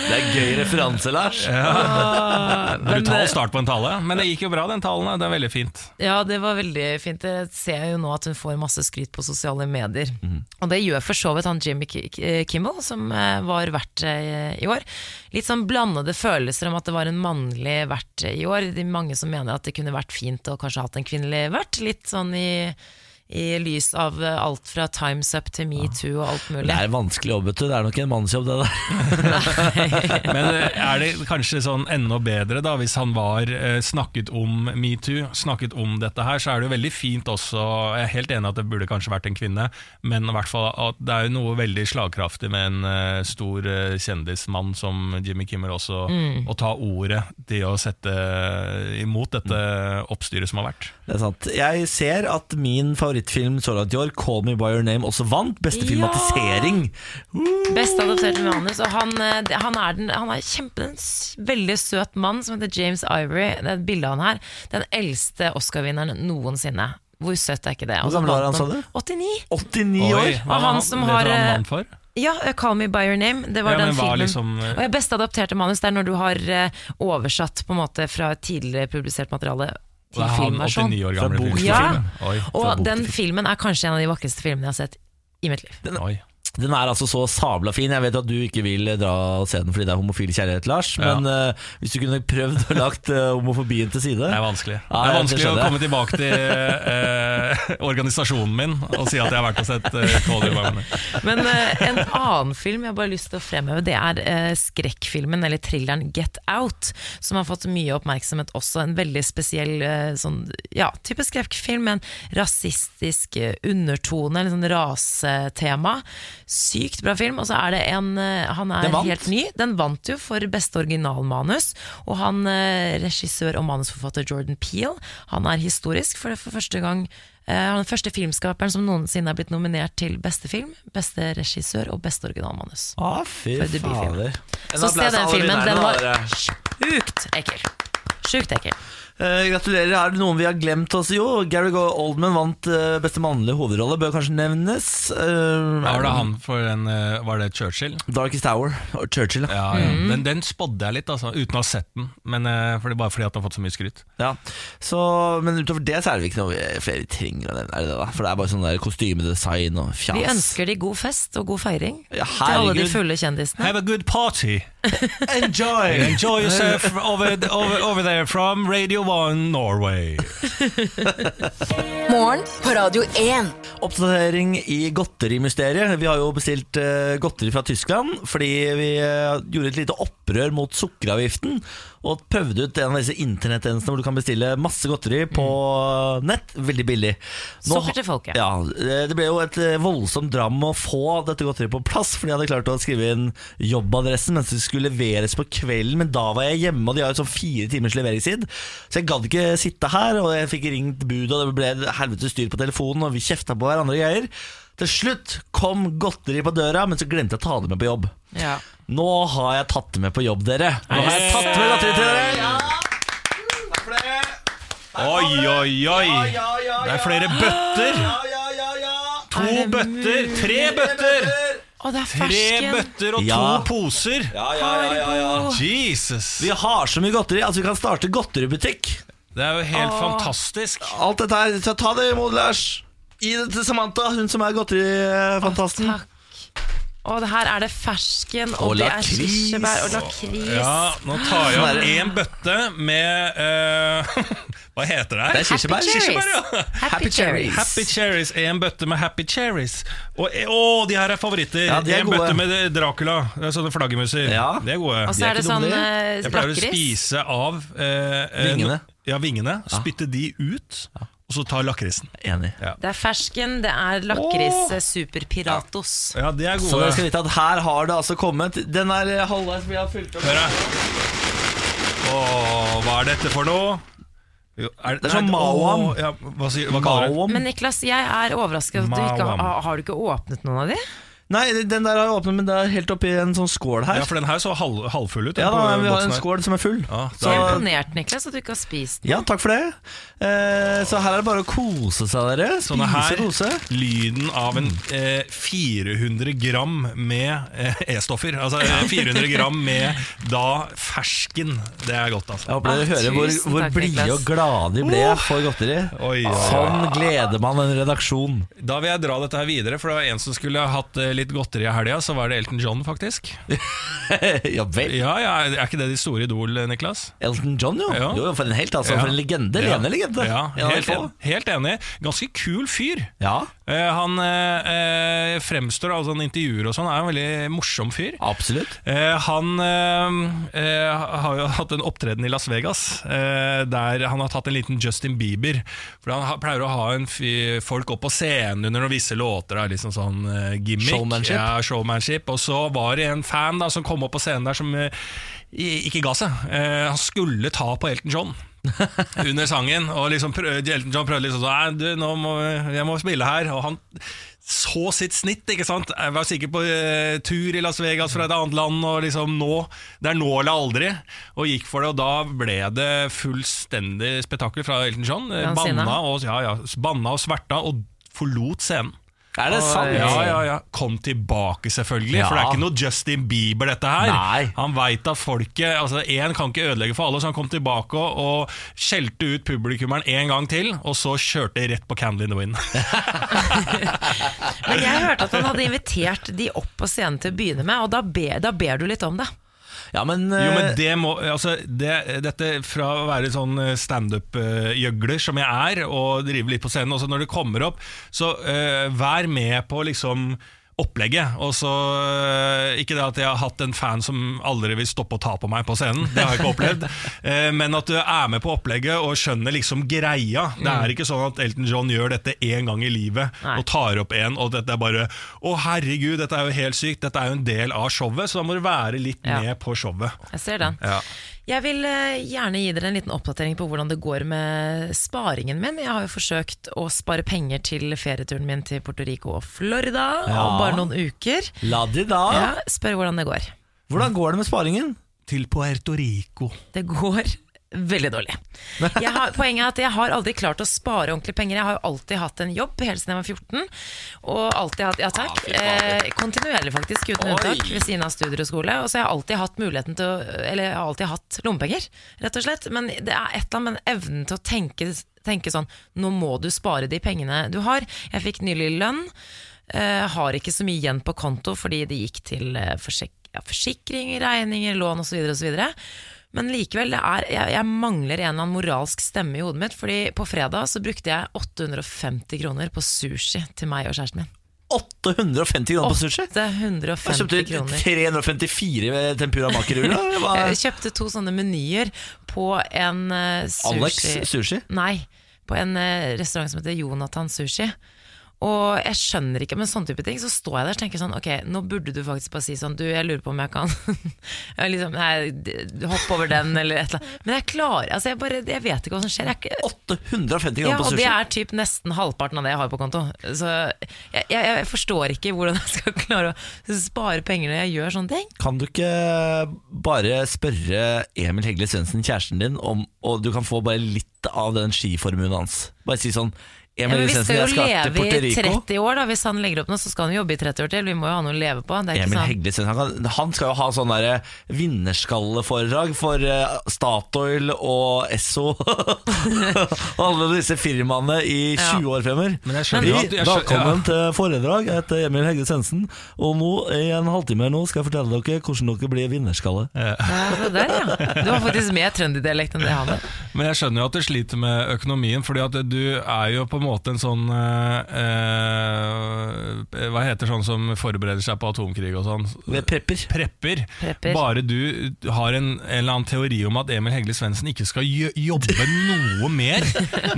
S1: Det er gøy referanse, Lars.
S3: eh,
S2: Brutal start på en tale, men det gikk jo bra, den talen. Det er veldig fint.
S3: Ja, det var veldig fint. Jeg ser jo nå at hun får masse skryt på sosiale medier.
S1: Mhm.
S3: Og det gjør for så vidt han Jimmy Ki- Ki- Kimmel, som eh, var vert eh, i år. Litt sånn blandede følelser om at det var en mannlig vert i år. Det er mange som mener at det kunne vært fint å kanskje hatt en kvinnelig vert. Litt sånn i, i lys av eh, alt fra Times Up til Metoo og alt mulig.
S1: Det er vanskelig jobb, vet du. Det er nok en mannsjobb, det der.
S2: Men eh, er det kanskje sånn enda bedre da hvis han var eh, snakket om metoo, snakket om dette her, så er det jo veldig fint også Jeg er helt enig at det burde kanskje vært en kvinne, men i hvert fall at det er jo noe veldig slagkraftig med en eh, stor eh, kjendismann som Jimmy Kimmel også,
S3: Mm.
S2: å ta ordet til å sette imot dette oppstyret som har vært.
S1: Det er sant. Jeg ser at min favorittfilm så langt i år, 'Call Me By Your Name', også vant beste
S3: Ja!
S1: filmatisering.
S3: Best adoptert manus. Og han, eh, det- han er, den, han er kjempe, en s- veldig søt mann som heter James Ivory. Det er et bilde av han her. Den eldste Oscar-vinneren noensinne. Hvor søtt er ikke det? Og så
S1: gammel var
S3: vant
S1: han, sa du?
S3: 89.
S1: 89
S2: Oi,
S1: år!
S2: hva
S3: Og han som
S2: vet du
S3: har,
S2: hva han
S3: eh,
S2: vant for?
S3: Ja, eh, 'Call Me By Your Name'. Det var
S2: Ja,
S3: den
S2: men var
S3: filmen.
S2: liksom, eh,
S3: og ja, Best adopterte manus det er når du har eh, oversatt på en måte fra tidligere publisert materiale til
S2: Det er han
S3: filmversjon.
S2: 89 år
S1: Fra
S2: gamle
S1: bok til
S2: filmversjon. Oi.
S3: Og den filmen er kanskje en av de vakreste filmene jeg har sett i mitt liv.
S2: Oi.
S1: Den er altså så sabla fin. Jeg vet at du ikke vil eh, dra og se den fordi det er homofil kjærlighet, Lars,
S2: Ja.
S1: men eh, hvis du kunne prøvd å lagt eh, homofobien til side
S2: Det er vanskelig.
S1: Ja,
S2: det er
S1: det
S2: vanskelig å
S1: skjønner
S2: komme tilbake til eh, organisasjonen min og si at jeg har vært og sett eh, Call Me By Your Name.
S3: Men eh, en annen film jeg bare har lyst til å fremheve, det er eh, skrekkfilmen, eller thrilleren Get Out, som har fått mye oppmerksomhet også. En veldig spesiell eh, sånn, ja, type skrekkfilm, med en rasistisk eh, undertone, en sånn rasetema. Sykt bra film. Og så er det en eh, Han er
S1: Den vant.
S3: helt ny. Den vant jo for beste originalmanus. Og han, eh, regissør og manusforfatter Jordan Peele, han er historisk, for det er for første gang Eh, Han er den første filmskaperen som noensinne er blitt nominert til beste film, beste regissør og beste originalmanus.
S1: Å, Ah, fy
S3: For debutfilm.
S1: fader.
S3: Så se den filmen. Den var sjukt ekkel. Sjukt ekkel.
S1: Eh, gratulerer. Er det noen vi har glemt oss? Jo, Gary Oldman vant eh, beste mannlige hovedrolle, bør kanskje nevnes. Eh,
S2: Var det han for en eh, Var det Churchill?
S1: Darkest Hour og Churchill. Ja.
S2: Ja, ja. Den, den spådde jeg litt, altså, uten å ha sett den. Men eh, for det er bare fordi at den har fått så mye skryt.
S1: Ja. Så, men utover det så er det ikke noe vi- flere vi trenger å nevne. Er det det da? For det er bare sånn der kostymedesign og fjas.
S3: Vi ønsker de god fest og god feiring
S1: Ja,
S3: til alle de
S1: herregud.
S3: fulle kjendisene.
S2: Have a good party!
S1: Enjoy!
S2: Enjoy yourself over, over, over there from Radio 1 Norway.
S4: Morgen på Radio 1.
S1: Oppdatering i godterimysteriet. Vi har jo bestilt eh, godteri fra Tyskland fordi vi eh, gjorde et lite opprør mot sukkeravgiften og prøvde ut en av disse internettjenestene hvor du kan bestille masse godteri på nett veldig billig.
S3: Mm. Sukker til folket.
S1: Ja, eh, det ble jo et eh, voldsomt dram å få dette godteriet på plass, for de hadde klart å skrive inn jobbadressen mens det skulle leveres på kvelden, men da var jeg hjemme, og de har jo sånn fire timers leveringstid, så jeg gadd ikke sitte her, og jeg fikk ringt bud, og det ble helvete styr på telefonen, og vi kjefta på hverandre og greier. Til slutt kom godteri på døra, men så glemte jeg å ta det med på jobb.
S3: Ja.
S1: Nå har jeg tatt det med på jobb, dere. Nå har jeg tatt med godteri til dere.
S2: Oi, oi, oi! Det er flere bøtter! To
S3: Er det
S2: bøtter!
S3: mulig?
S2: Tre bøtter!
S3: Å, det er
S2: Tre
S3: fersken!
S2: bøtter og to
S1: Ja.
S2: poser! Jesus!
S1: Vi har så mye godteri, altså vi kan starte godteributikk.
S2: Det er jo helt fantastisk.
S1: Alt dette her, så ta det imot, Lars. Gi det til Samantha, hun som er godterifantasten.
S3: Takk. Og det her er det fersken, og,
S1: Og
S3: det er
S1: lakris.
S3: kirsebær og lakris.
S2: Ja, nå tar jeg opp én bøtte med eh, Hva heter det her?
S1: Det er kirsebær.
S3: Happy cherries.
S2: ja.
S3: Happy cherries.
S2: Happy Cherries. En bøtte med Happy Cherries. Og eh, å, de her er favoritter!
S1: Ja, de er
S2: en
S1: gode.
S2: bøtte med Dracula. Det er sånne flaggermuser.
S1: Ja.
S2: De er gode.
S3: Og
S1: De
S3: så
S1: er
S3: er det
S1: ikke dumme,
S3: sånn
S1: de.
S3: eh,
S2: Jeg pleier å
S3: lakris.
S2: spise av eh, eh,
S1: Vingene.
S2: Ja, vingene. Spytte de ut, og så ta lakrisen.
S1: Enig.
S3: Det er fersken, det er lakris. eh, Superpiratos.
S2: Ja, de er
S1: Så
S2: gode.
S1: dere skal vite at her har det altså kommet Den er eh, halvveis vi har fylt opp.
S2: Hør her. Åh, hva er dette for noe? Jo,
S1: Det er sånn mawam.
S2: åh, ja, hva, sier, hva kaller du det?
S1: Mawam.
S3: Men Niklas, jeg er overrasket at du ikke
S2: Mawam.
S3: har, har du ikke åpnet noen av de?
S1: Nei, den der har jeg åpnet, men det er helt oppi en sånn skål
S2: Ja,
S1: her.
S2: for den her så halv, halvfull ut. den
S1: Ja da,
S2: på
S1: vi har
S2: boksen
S1: en
S2: her.
S1: skål som er full.
S2: Ja,
S3: Så jeg er
S2: deilig.
S3: imponert, Niklas, at du ikke har spist.
S1: Ja, takk for det. Eh, så her er det bare å kose seg, dere.
S2: Sånn
S1: Spise
S2: her,
S1: og kose.
S2: lyden av en eh, 400 gram med eh, E-stoffer. Altså eh, 400 gram med da fersken. Det er godt, altså.
S1: Jeg håper dere
S3: Ah,
S1: hører hvor,
S3: tusen
S1: hvor
S3: takk,
S1: blide
S3: Niklas.
S1: og glade de ble for godteri.
S2: Oi, oi, oi.
S1: Sånn gleder man en redaksjon.
S2: Da vil jeg dra dette her videre, for det var en som skulle ha hatt eh, litt godteri i helga, så var det Elton John, faktisk.
S1: ja vel.
S2: Ja, ja, Er ikke det de store idol, eh, Niklas?
S1: Elton John, jo.
S2: Ja.
S1: jo. For en helt, altså. For en legende.
S2: Ja.
S1: Lene legende.
S2: Ja,
S1: En av de
S2: helt,
S1: få.
S2: helt enig. Ganske kul fyr.
S1: ja,
S2: Eh, han eh, eh, fremstår, altså han intervjuer og sånn, er en veldig morsom fyr.
S1: absolutt.
S2: Eh, han eh, eh, har jo hatt en opptreden i Las Vegas, eh, der han har tatt en liten Justin Bieber. For Han ha, pleier å ha en fy, folk opp på scenen under noen visse låter, da, liksom sånn eh, gimmick.
S1: Showmanship.
S2: Ja, showmanship. Og så var det en fan da, som kom opp på scenen der som eh, i- ikke ga seg. Eh, han skulle ta på Elton John. under sangen, og liksom prø- Elton John prøvde liksom sånn Nei, du, nå må jeg må spille her. Og han så sitt snitt, ikke sant. Jeg var sikkert på eh, tur i Las Vegas fra et annet land, og liksom nå Det er nå eller aldri. Og gikk for det, og da ble det fullstendig spetakkel fra Elton John. Eh,
S3: Han sinna.
S2: Banna og, ja, ja, banna og sverta, og forlot scenen.
S1: Er det sant?
S2: Ja, ja, ja. Kom tilbake, selvfølgelig.
S1: Ja.
S2: For det er ikke noe Justin Bieber, dette her.
S1: Nei.
S2: Han veit at folket Altså, Én kan ikke ødelegge for alle, så han kom tilbake og, og skjelte ut publikummeren en gang til, og så kjørte rett på Candle in the Wind.
S3: Men jeg hørte at han hadde invitert de opp på scenen til å begynne med, og da ber, da ber du litt om det.
S1: Ja, men, eh,
S2: Jo,
S3: eh,
S2: men det må Altså, det, dette fra å være sånn standup-gjøgler som jeg er, og drive litt på scenen, også når det kommer opp, så eh, vær med på liksom opplegget, og så eh, Ikke det at jeg har hatt en fan som aldri vil stoppe å ta på meg på scenen, det har jeg ikke opplevd, eh, men at du er med på opplegget og skjønner liksom greia. Det er ikke sånn at Elton John gjør dette én gang i livet
S3: Mm. Nei.
S2: og tar opp en, og dette er bare Å, herregud, dette er jo helt sykt, dette er jo en del av showet, så da må du være litt
S3: Ja.
S2: med på showet.
S3: Jeg ser den.
S2: Ja.
S3: Jeg vil eh, gjerne gi dere en liten oppdatering på hvordan det går med sparingen min. Jeg har jo forsøkt å spare penger til ferieturen min til Puerto Rico og Florida om bare noen uker.
S1: La de da.
S3: Ja, spør hvordan det går.
S1: Hvordan går det med sparingen?
S2: til Puerto Rico.
S3: Det går veldig dårlig. Jeg har, poenget er at jeg har aldri klart å spare ordentlig penger. Jeg har jo alltid hatt en jobb helt siden jeg var 14. Og alltid hatt, ja takk, eh, kontinuerlig faktisk, uten unntak, ved siden av studier og skole. Og så har jeg alltid hatt muligheten til å, eller jeg har alltid hatt lommepenger, rett og slett. Men det er et eller annet med evnen til å tenke, tenke sånn, nå må du spare de pengene du har. Jeg fikk nylig lønn. Eh, har ikke så mye igjen på konto fordi det gikk til eh, forsik ja, forsikring, regninger, lån osv. videre Men likevel, det er, jeg, jeg mangler en eller annen moralsk stemme i hodet mitt. Fordi på fredag så brukte jeg 850 kroner på sushi til meg og kjæresten min.
S1: 850 kroner på sushi? Jeg
S3: 850
S1: kjøpte
S3: kroner.
S1: 354 tempura makeruller.
S3: Jeg Eh, kjøpte to sånne menyer på en eh, sushi
S1: Alex sushi?
S3: Nei, på en eh, restaurant som heter Jonathan Sushi. Og jeg skjønner ikke, men sånne type ting, så står jeg der og tenker sånn Ok, nå burde du faktisk bare si sånn Du, jeg lurer på om jeg kan jeg liksom, Nei, d- hopp over den, eller et eller annet. Men jeg klarer altså jeg, bare, jeg vet ikke hva som skjer. Jeg, er ikke-
S1: 850 gram
S3: ja,
S1: på
S3: og
S1: sushi.
S3: det er typ nesten halvparten av det jeg har på konto. Så jeg, jeg, jeg forstår ikke hvordan jeg skal klare å spare penger når jeg gjør sånne ting.
S1: Kan du ikke bare spørre Emil Hegle Svendsen, kjæresten din, om Og du kan få bare litt av den skiformuen hans? Bare si sånn
S3: Ja,
S1: Emil
S3: men
S1: Hegle
S3: vi
S1: Svendsen,
S3: skal
S1: jeg
S3: jo
S1: skal til Puerto
S3: leve i
S1: Rico.
S3: 30 år, da. Hvis han legger opp nå, så skal han jo jobbe i 30 år til. Vi må jo ha noe å leve på. Det
S1: Emil
S3: er ikke sånn- sant.
S1: Hegle Svendsen, han, kan- han skal jo ha sånn derre vinnerskalleforedrag for eh, Statoil og Esso og alle disse firmaene i 20 år fremover.
S2: Men jeg skjønner jo at-
S1: Vi,
S2: jeg skjønner- ja.
S1: velkommen til foredrag. Jeg heter Emil Hegle Svendsen, og nå, i en halvtime her nå skal jeg fortelle dere hvordan dere blir vinnerskalle.
S3: Ja, det der, ja. Du har faktisk mer trønderdialekt enn det han har.
S2: Men jeg skjønner jo at du sliter med økonomien, fordi at du er jo på en måte en sånn eh, eh, Hva heter sånn som forbereder seg på atomkrig og sånn?
S1: Ved prepper.
S2: Prepper.
S3: Prepper.
S2: Bare du har en, en eller annen teori om at Emil Hegle Svendsen ikke skal gjø- jobbe noe mer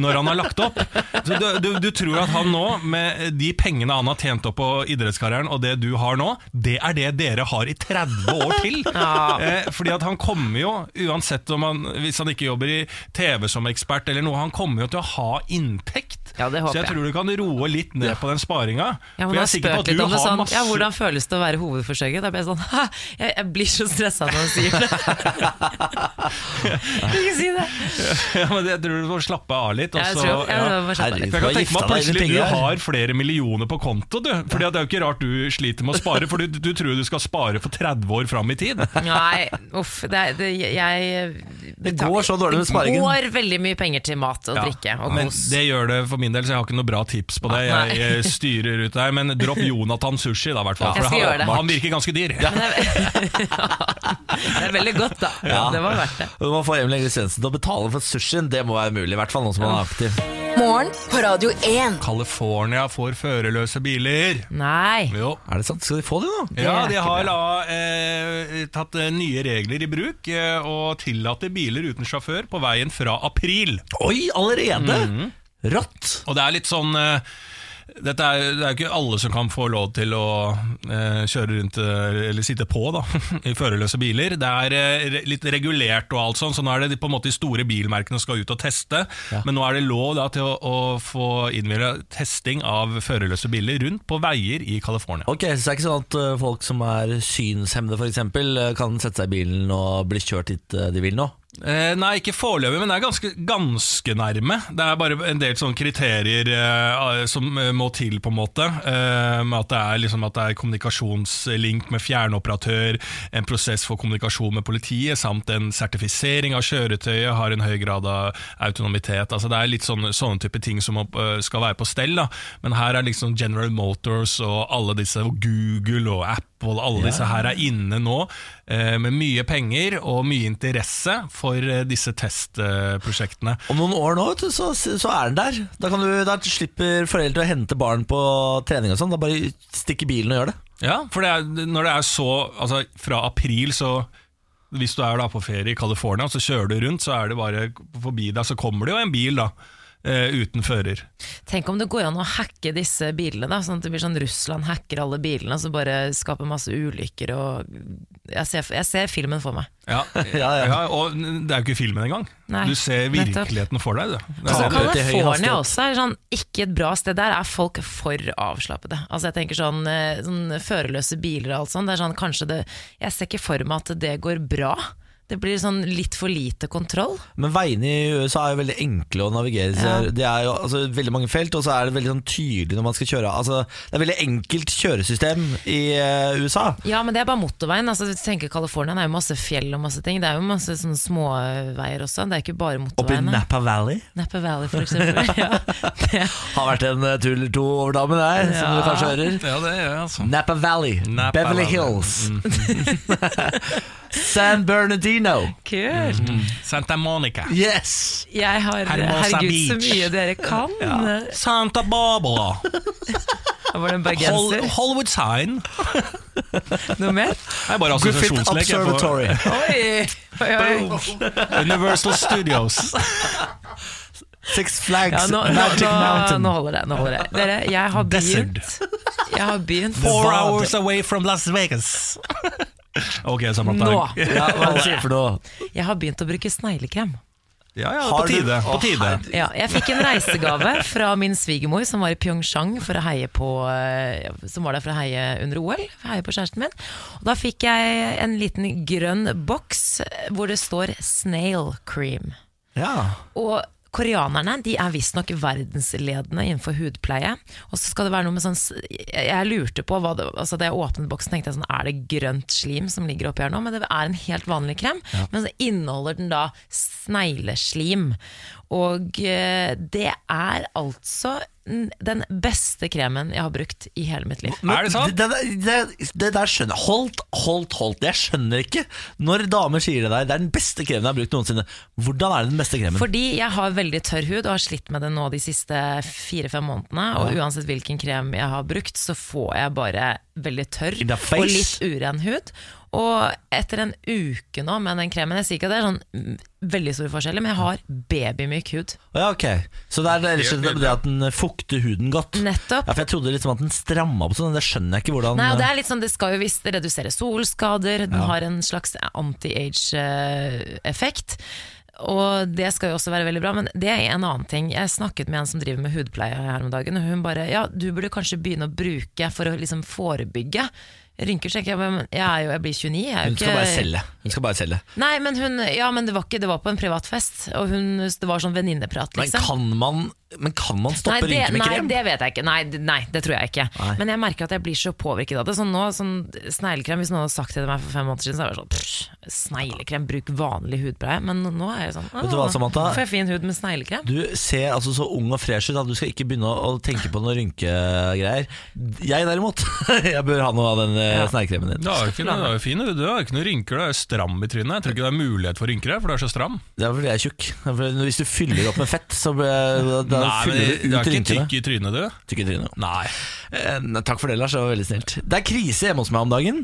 S2: når han har lagt opp. Så du, du, du tror at han nå, med de pengene han har tjent opp på idrettskarrieren, og det du har nå, det er det dere har i 30 år til.
S3: Ja.
S2: Eh, fordi at han kommer jo, uansett om han, hvis han ikke jobber i TV som ekspert eller noe, han kommer jo til å ha inntekt.
S3: Ja, det håper
S2: Så jeg
S3: jeg.
S2: tror du kan roe litt ned på den sparinga.
S3: Ja,
S2: For
S3: men
S2: jeg
S3: han
S2: er sikker på
S3: spøk
S2: at
S3: litt
S2: du
S3: om det
S2: har
S3: sånn
S2: masse
S3: Ja, hvordan føles det å være hovedforsørger? Da blir jeg sånn «Haha, jeg, jeg blir så stressa når han sier det. ikke si det.
S2: Ja, men Jeg tror du må slappe av litt. Og
S3: Jeg
S2: så,
S3: tror, jeg,
S2: ja.
S3: bare slapp av litt.
S2: For jeg kan tenke meg at
S1: Gifta deg inn i
S2: plutselig du
S1: penger.
S2: har flere millioner på konto. Du. Fordi at Det er jo ikke rart du sliter med å spare, for du, du tror du skal spare for 30 år fram i tid.
S3: Nei, uff. Det, er- det, jeg,
S1: Det går så dårlig med sparingen.
S3: Det går veldig mye penger til mat og drikke og
S2: men
S3: kos.
S2: det gjør det for min del, så jeg har ikke noe bra tips på det. Jeg,
S3: Nei.
S2: eh, styrer ut der, Men dropp Jonathan Sushi, da, i hvert fall.
S3: Jeg
S2: For
S3: skal gjøre
S2: han,
S3: det.
S2: han virker ganske dyr.
S3: Men det, er, det er veldig godt, da.
S1: Ja.
S3: Det var verdt det.
S1: Du må få Emil Egil Svendsen til å betale for sushien. Det må være mulig, i hvert fall nå som han er aktiv.
S4: Morgen på Radio 1.
S2: California får førerløse biler.
S3: Nei.
S2: Jo.
S1: Er det sant? Skal de få det nå?
S2: Ja,
S3: er
S2: de
S3: ikke
S2: har da, eh, tatt eh, nye regler i bruk eh, og tillater biler uten sjåfør på veien fra april.
S1: Oi, allerede? Rått!
S2: Og det er litt sånn eh, dette er, det er jo ikke alle som kan få lov til å eh, kjøre rundt eh, eller sitte på da, i førerløse biler. Det er eh, re- litt regulert og alt sånn, så nå er det på en måte de store bilmerkene som skal ut og teste. Men nå er det lov da, til å, å få innvilga testing av førerløse biler rundt på veier i California.
S1: Ok, Så det er ikke sånn at eh, folk som er synshemmede f.eks., kan sette seg i bilen og bli kjørt dit eh, de vil nå?
S2: Eh, nei, ikke foreløpig, men det er ganske, ganske nærme. Det er bare en del sånne kriterier eh, som eh, må til, på en måte. Eh, med at, det er, liksom, at det er kommunikasjonslink med fjernoperatør, en prosess for kommunikasjon med politiet, samt en sertifisering av kjøretøyet, har en høy grad av autonomitet. Altså, det er litt sånne, sånne type ting som må, eh, skal være på stell. Da. Men her er liksom General Motors og alle disse, og Google og Apple, alle disse her er inne nå eh, med mye penger og mye interesse for eh, disse testprosjektene.
S1: Om noen år nå, vet du, så, så er den der. Da, kan du, da slipper foreldre å hente barn på trening og sånn. Da bare stikker bilen og gjør det.
S2: Ja, for det er, når det er så Altså, fra april så Hvis du er da på ferie i California, så kjører du rundt, så er det bare forbi deg, så kommer det jo en bil, da. eh, uten fører.
S3: Tenk om det går an å hacke disse bilene, da, sånn at det blir sånn Russland hacker alle bilene og så bare skaper masse ulykker og Jeg ser, jeg ser filmen for meg.
S2: Ja,
S1: Ja, ja.
S2: Og det er jo ikke filmen engang.
S3: Nei,
S2: du ser
S3: nettopp.
S2: virkeligheten for deg, du. Det er
S3: Altså,
S1: Kablete i høy
S3: California
S1: hastighet.
S3: også er sånn ikke et bra sted. Der er folk for avslappede. Altså jeg tenker sånn, eh, sånn Førerløse biler og alt sånt. Det er sånn, kanskje det, jeg ser ikke for meg at det går bra. Det blir sånn litt for lite kontroll.
S1: Men veiene i USA er jo veldig enkle å navigere i.
S3: Ja.
S1: Det er jo altså, veldig mange felt, og så er det veldig sånn tydelig når man skal kjøre. Altså, det er veldig enkelt kjøresystem i eh, USA.
S3: Ja, men det er bare motorveien. Altså, hvis du tenker California det er jo masse fjell og masse ting. Det er jo masse sånne småveier også. Det er ikke bare
S1: Oppe i
S3: motorveiene.
S1: Napa Valley
S3: Napa Valley, for eksempel. ja. det,
S1: har vært en eh, tur eller to over dammen der, som du kanskje hører.
S2: Ja, det gjør jeg, altså.
S1: Napa Valley,
S2: Napa
S1: Beverly
S2: Valley. Mm.
S1: Hills San Bernardino
S3: kult!
S2: Santa Monica.
S1: Yes
S3: Jeg har
S2: Hermosa
S3: Herregud, så
S2: Beach.
S3: mye dere kan!
S2: Santa Barbara.
S3: Var det en
S2: Hol
S3: bergenser?
S2: Hollywood Sign.
S3: Noe mer?
S2: Det er bare
S1: Griffith
S2: assosiasjonslek. jeg får-
S1: Observatory
S3: Oi! oi, oi.
S2: Universal Studios.
S1: Six Flags,
S3: Ja, nå, nå,
S1: Magic
S3: nå,
S1: Mountain.
S3: nå holder det. nå holder det Dere, jeg har
S2: Desert.
S3: begynt. Jeg har begynt
S2: Four
S1: Nevada.
S2: hours away from Las Vegas. Ok, Samantha.
S3: Nå.
S1: Ja, hva skjer for noe?
S3: Jeg har begynt å bruke sneglekrem.
S2: Ja, ja,
S1: Har
S2: på
S1: du-
S2: tide. På
S1: Å,
S2: tide.
S3: Ja, jeg fikk en reisegave fra min svigermor som var i Pyeongchang for å heie på eh, Som var der for å heie under OL, for å heie på kjæresten min. Og da fikk jeg en liten grønn boks hvor det står 'snail cream'.
S1: Ja.
S3: Og koreanerne de er visstnok verdensledende innenfor hudpleie. Og så skal det være noe med sånn s- Jeg jeg lurte på hva det, altså Da jeg åpnet boksen, tenkte jeg sånn Er det grønt slim som ligger oppi her nå? Men det er en helt vanlig krem. Men så inneholder den da snegleslim. Og eh, det er altså n- den beste kremen jeg har brukt i hele mitt liv.
S2: Er det sant?
S1: Det, det, det, det der skjønner jeg. Holdt, holdt, holdt. Jeg skjønner ikke når damer sier det der. Det er den beste kremen jeg har brukt noensinne. Hvordan er det den beste kremen?
S3: Fordi jeg har veldig tørr hud og har slitt med det nå de siste fire-fem månedene. Og uansett hvilken krem jeg har brukt, så får jeg bare veldig tørr
S1: In the face.
S3: og litt uren hud. Og etter en uke nå med den kremen Jeg sier ikke at det er sånn mm, veldig store forskjeller, men jeg har babymyk hud.
S1: Ja, ok Så det er rett og slett det at den eh, fukter huden godt?
S3: Nettopp.
S1: Ja, for Jeg trodde liksom at den stramma opp sånn, men det skjønner jeg ikke hvordan
S3: Nei, og det er litt sånn, det skal jo visst redusere solskader, den har en slags eh, anti-age-effekt. Og det skal jo også være veldig bra, men det er en annen ting. Jeg snakket med en som driver med hudpleie her om dagen, og hun bare ja, du burde kanskje begynne å bruke for å liksom forebygge. Rynker tenker jeg, men jeg er jo, jeg blir 29, jeg er jo
S1: eh, Hun
S3: ikke
S1: skal bare selge. Hun skal bare selge.
S3: Nei, men hun, ja, men det var ikke, det var på en privat fest, og hun, det var sånn venninneprat,
S1: Men
S3: liksom.
S1: kan man, men kan man stoppe
S3: Nei, det,
S1: rynker med
S3: nei,
S1: krem?
S3: det vet jeg ikke. Nei, d- nei det tror jeg ikke.
S1: Nei.
S3: Men jeg merker at jeg blir så påvirket av det. Sånn nå, sånn Sneglekrem, hvis noen hadde sagt det til meg for fem måneder siden, så hadde jeg vært sånn pff, Sneglekrem, bruk vanlig hudpleie. Men nå er jeg sånn
S1: Vet du hva,
S3: «Åh,
S1: Samantha?
S3: Får jeg fin hud med sneglekrem?
S1: Du ser altså så ung og fresh ut at du skal ikke begynne å å tenke på noen rynkegreier. Jeg derimot, jeg bør ha noe av den ja. snegrekremen din.
S2: Du har jo ikke noe, du har jo fin, du har jo ikke noen rynker, du er jo stram i trynet. Jeg tror ikke det er mulighet for rynker, her, for du er så stram.
S1: Det er fordi jeg er tjukk. Det er fordi Hvis du fyller opp med fett, så blir- da
S2: Nei, men
S1: fyller du ut
S2: du er ikke
S1: rynkene.
S2: tykk i trynet, du.
S1: Tykk i trynet. Nei. Eh, nei, Takk for det, Lars. Det var veldig snilt. Det er krise hjemme hos meg om dagen.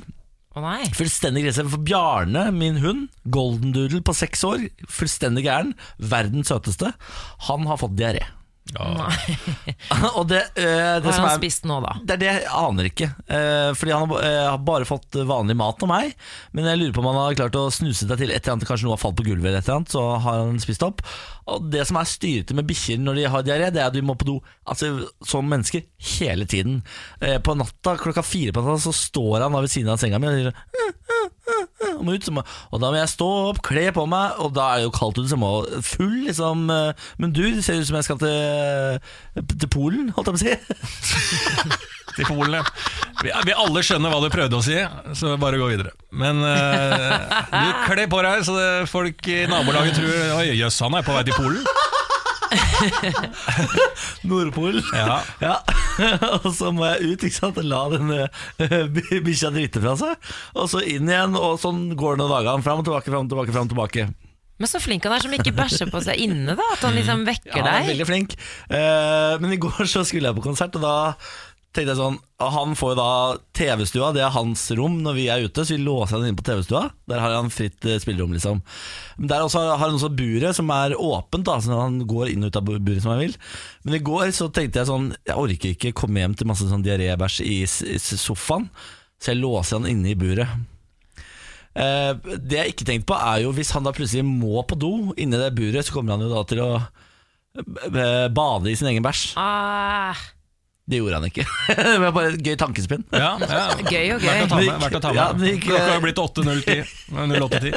S3: Å nei.
S1: Fullstendig grense for Bjarne, min hund, golden doodle på seks år, fullstendig gæren, verdens søteste, han har fått diaré. og det, eh, det
S3: Hva
S1: som er,
S3: har han spist nå, da?
S1: Det er det jeg aner ikke. Eh, fordi han har ba- eh, har bare fått vanlig mat av meg, men jeg lurer på om han har klart å snuse seg til et eller annet, kanskje noe har falt på gulvet eller et eller annet, så har han spist opp. Og det som er styrete med bikkjer når de har diaré, det er at de må på do altså, som mennesker hele tiden. Eh, på natta klokka fire på natta så står han da ved siden av senga mi og sier sånn, jeg må ut, så må, og da må jeg stå opp, kle på meg, og da er det jo kaldt ute, så jeg må full liksom eh, mundur. Det ser ut som jeg skal til, til Polen, holdt jeg på å si.
S2: Til Polen, ja. Vi, vi alle skjønner hva du prøvde å si, så bare gå videre. Men eh, du kler på deg, så det, folk i nabolaget tror Oi, jøss, han er på vei til Polen.
S1: Nordpolen.
S2: Ja.
S1: Ja, og så må jeg ut, ikke sant, og la denne eh, bi- bikkja drite fra seg. Og så inn igjen, og sånn går det noen dager. Fram og tilbake, fram og tilbake, fram og tilbake.
S3: Men så flink han er som ikke bæsjer på seg inne, da. At han liksom vekker
S1: Ja, han er
S3: deg.
S1: veldig flink. Eh, men i går så skulle jeg på konsert, og da tenkte jeg sånn og Han får jo da TV-stua, det er hans rom når vi er ute, så vi låser han inn på TV-stua. Der har han fritt eh, spillerom, liksom. Men der også har han også buret som er åpent, da, så han går inn og ut av bu- buret som han vil. Men i går så tenkte jeg sånn Jeg orker ikke komme hjem til masse sånn diarébæsj i s- i s- sofaen, så jeg låser han inne i buret. Eh, det jeg ikke tenkte på er jo Hvis han da plutselig må på do inni det buret, så kommer han jo da til å b- b- bade i sin egen bæsj.
S3: Ah,
S1: Det gjorde han ikke. det var bare et gøy tankespinn.
S2: Ja, ja.
S3: gøy og
S2: Verdt å ta
S3: gøy.
S2: med. Verdt å ta
S1: Ja,
S2: med.
S1: det gikk-
S2: Klokka har blitt 8.010. 08.10.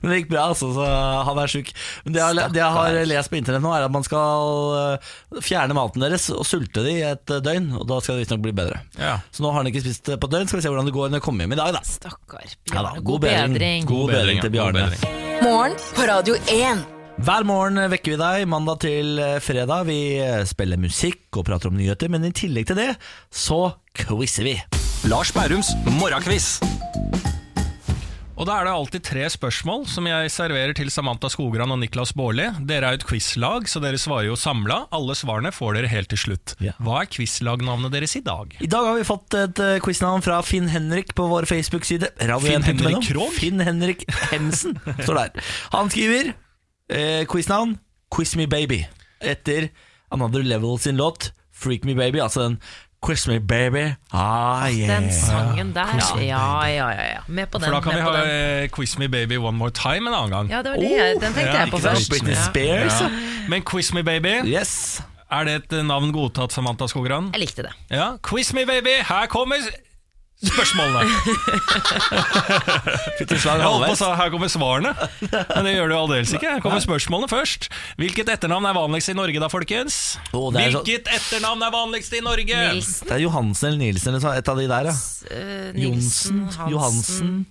S1: Men det gikk bra, altså, så han er sjuk. Men det jeg, har- det jeg har lest på internett nå, er at man skal eh, fjerne maten deres og sulte de i et eh, døgn, og da skal det visstnok bli bedre.
S2: Ja.
S1: Så nå har han ikke spist eh, på et døgn, skal vi se hvordan det går når jeg kommer hjem i dag, da.
S3: Stakkar.
S1: Ja da,
S3: Bjørn.
S1: god bedring. God bedring til
S2: ja. God
S1: Bjarne.
S2: bedring.
S4: Morgen på Radio 1.
S1: Hver morgen vekker vi deg, mandag til eh, fredag. Vi eh, spiller musikk og prater om nyheter, men i tillegg til det så quizer vi.
S8: Lars Bærums morgenkviss.
S2: Og da er det alltid tre spørsmål som jeg serverer til Samantha Skogran og Niklas Baarli. Dere er jo et quizlag, så dere svarer jo samla. Alle svarene får dere helt til slutt.
S1: Ja.
S2: Hva er quizlagnavnet deres i dag?
S1: I dag har vi fått et eh, quiznavn fra Finn Henrik på vår Facebook-side. Radio
S2: Finn
S1: 1.no.
S2: Henrik Krogh?
S1: Finn Henrik Hemsen står der. Han skriver eh, quiznavn Quiz Me Baby etter Another Level sin låt Freak Me Baby. Altså den Quiz Me Baby. Ah, yeah.
S3: Den sangen der.
S1: Quiz Me
S3: Ja, ja, ja. ja. Med på den.
S2: For da kan
S3: med
S2: vi
S3: på
S2: ha
S3: den.
S2: eh, Quiz Me Baby One More Time en annen gang.
S3: Ja, det var det jeg- den tenkte jeg på
S2: ikke sant?
S3: først.
S1: Britney Spears.
S2: Ja. Men Quiz Me Baby, er det et eh, navn godtatt, Samantha Skogran?
S3: Jeg likte det.
S2: Ja, Quiz Me Baby, her kommer s- spørsmålene.
S1: Fytti slag
S2: Jeg holdt på å
S1: halvveis.
S2: sa, Her kommer svarene, men det gjør det jo aldeles ikke. Her kommer spørsmålene først. Hvilket etternavn er vanligst i Norge da, folkens?
S1: Å, det er så-
S2: Hvilket etternavn er vanligst i Norge?
S1: Eh,
S3: Nilsen,
S1: Det er Johansen eller Nilsen eller sånn, et av de der, ja.
S3: eh, Nilsen,
S1: Johnsen,
S3: Hansen
S1: Johansen.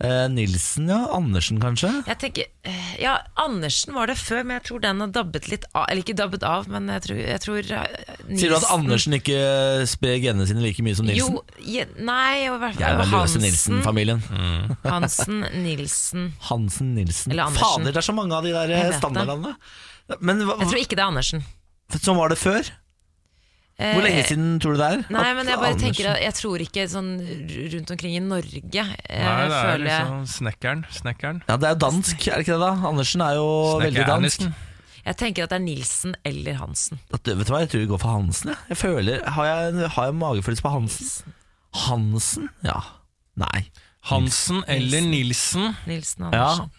S1: Eh, Nilsen, ja. Andersen, kanskje.
S3: Jeg tenker, eh, ja, Andersen var det før, men jeg tror den har dabbet litt av. Eller ikke dabbet av, men jeg tror, jeg tror eh, Nilsen
S1: Sier du at Andersen ikke sprer genene sine like mye som Nilsen?
S3: Jo, je, nei, i hvert
S1: Jeg
S3: fall
S1: var løse
S3: Hansen.
S1: Nilsen-familien.
S3: Hansen, Nilsen
S1: Hansen, Nilsen
S3: Eller Andersen.
S1: Fader, det er så mange av de der
S3: Jeg
S1: eh,
S3: vet det.
S1: standardnavnene. Men hva,
S3: Jeg tror ikke det er Andersen.
S1: sånn var det før?
S3: Eh,
S1: Hvor lenge siden tror du det er?
S3: Nei,
S1: At
S3: men jeg bare
S1: Andersen-
S3: tenker at jeg tror ikke sånn r- rundt omkring i Norge eh,
S2: Nei, det er
S3: føler jeg
S2: liksom snekkeren. Snekkeren.
S1: Ja, det er jo dansk, er det ikke det da? Andersen er jo veldig dansk.
S2: Snekker-Ernesen.
S3: Jeg tenker at det er Nilsen eller Hansen.
S1: At, vet du hva, jeg tror vi går for Hansen, jeg. jeg føler, har jeg, har jeg magefølelse på Hansen? Hansen? Ja. Nei.
S2: Hansen eller Nilsen.
S3: Nilsen og
S1: Ja.
S3: Andersen.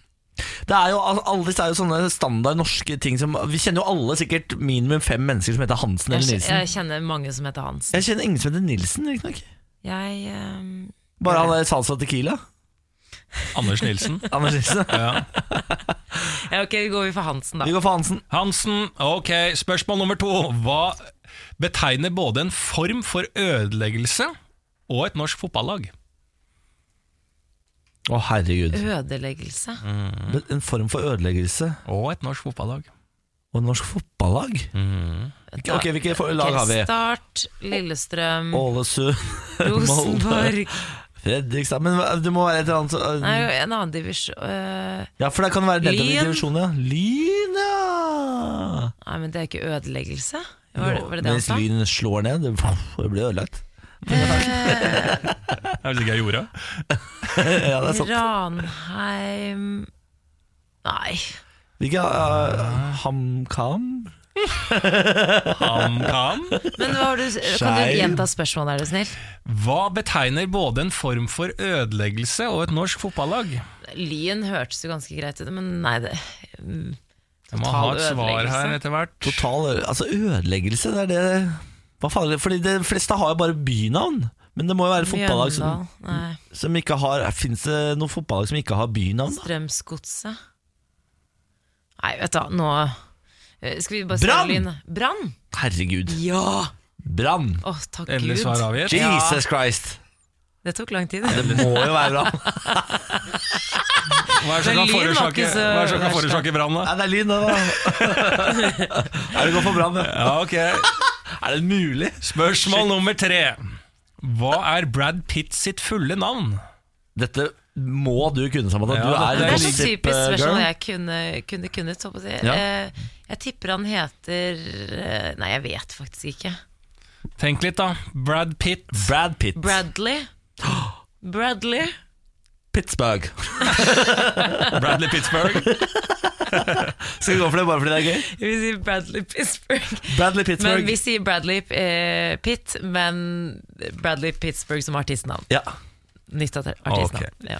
S1: Det er jo, al- alle disse er jo sånne standard norske ting som Vi kjenner jo alle sikkert minimum fem mennesker som heter Hansen
S3: Jeg,
S1: eller
S3: kj- jeg
S1: Nilsen.
S3: kjenner mange som heter Hansen.
S1: Jeg kjenner ingen som heter Nilsen, riktignok.
S3: Jeg ehm,
S1: Bare han der Salsa Tequila.
S2: Anders Nilsen.
S1: Anders Nilsen.
S2: Ja.
S3: ja, Ok, går vi for Hansen, da.
S1: Vi går for Hansen.
S2: Hansen, ok, spørsmål nummer to. Hva betegner både en form for ødeleggelse og et norsk fotballag?
S1: Å, herregud.
S3: Eh, Ødeleggelse.
S1: Mm. Men En form for ødeleggelse.
S2: Og et norsk fotballag.
S1: Og norsk fotballag?
S3: Mhm.
S1: Hvilke- Ok, Hvilke for- lag har vi?
S3: Start, Lillestrøm,
S1: Ålesund, Molde,
S3: Rosenborg
S1: Fredrikstad Men hva- det må være et eller annet så-
S3: Nei, en annen divisjon eh,
S1: Ja, for det kan være den
S3: Lyn.
S1: divisjonen, ja. Lyn, ja!
S3: Nei, men det er ikke ødeleggelse. Var, det- var det det han
S1: Mens
S3: sa?
S1: Lyn slår ned, det det blir ødelagt.
S2: Jeg vet ikke jeg gjorde.
S1: ja, det er sant.
S3: Ranheim Nei.
S1: Hvilke
S3: Ah.
S1: uh, HamKam?
S2: Han kan.
S3: Men hva har du, kan du
S1: Skeiv.
S3: gjenta spørsmålet, er du snill?
S2: Hva betegner både en form for ødeleggelse og et norsk fotballag?
S3: Lyn hørtes jo ganske greit ut, men nei, det mm,
S2: Jeg må ha et
S3: Total
S2: svar her
S3: ødeleggelse.
S2: etter hvert.
S1: Total ø- Altså, ødeleggelse, det er det Hva faen er det? Fordi de fleste har jo bare bynavn. Men det må jo være fotballag som,
S3: Mjøndal, nei,
S1: som ikke har Fins det noen fotballag som ikke har bynavn? da?
S3: Strømsgodset Nei, vet du hva, nå eh, Skal vi bare
S1: Brann!
S3: spørre Lyn? Brann?
S1: Herregud.
S3: Ja!
S1: Brann!
S3: Å, takk
S2: Endelig
S3: Gud.
S2: svar avgitt.
S1: Jesus Christ!
S3: Det tok lang tid.
S1: Det må jo være bra.
S2: Hva er det som kan
S3: Men Lyn var
S2: forårsake,
S3: ikke så
S2: hva er det som kan
S1: eh,
S3: verst,
S2: forårsake brann, da?
S1: Nei, det er lyn, det, da. Er det godt for brann, det?
S2: Ja, ok.
S1: Er det mulig?
S2: Spørsmål nummer tre. Hva er Brad Pitt sitt fulle navn?
S1: Dette må du kunne, Samantha.
S2: Ja,
S1: Du
S2: dette
S1: er
S2: er
S3: Det er
S2: så
S3: så
S1: gossip,
S3: typisk
S1: eh,
S3: spørsmål
S1: girl.
S3: jeg kunne, kunne kunnet, håper jeg. å si.
S1: Ja.
S3: Eh, jeg tipper han heter eh, Nei, jeg vet faktisk ikke.
S2: Tenk litt, da. Brad Pitt.
S1: Brad Pitt.
S3: Bradley. Bradley.
S1: Pittsburgh.
S2: Bradley Pittsburgh.
S1: Skal vi gå for det bare fordi det er gøy?
S3: Vi sier Bradley Pittsburgh.
S1: Bradley
S3: Men
S1: Pittsburgh.
S3: vi sier Bradley eh, Pitt, men Bradley Pittsburgh som artistnavn.
S1: Ja.
S3: Nytt at- artistnavn.
S2: Ok.
S3: Ja.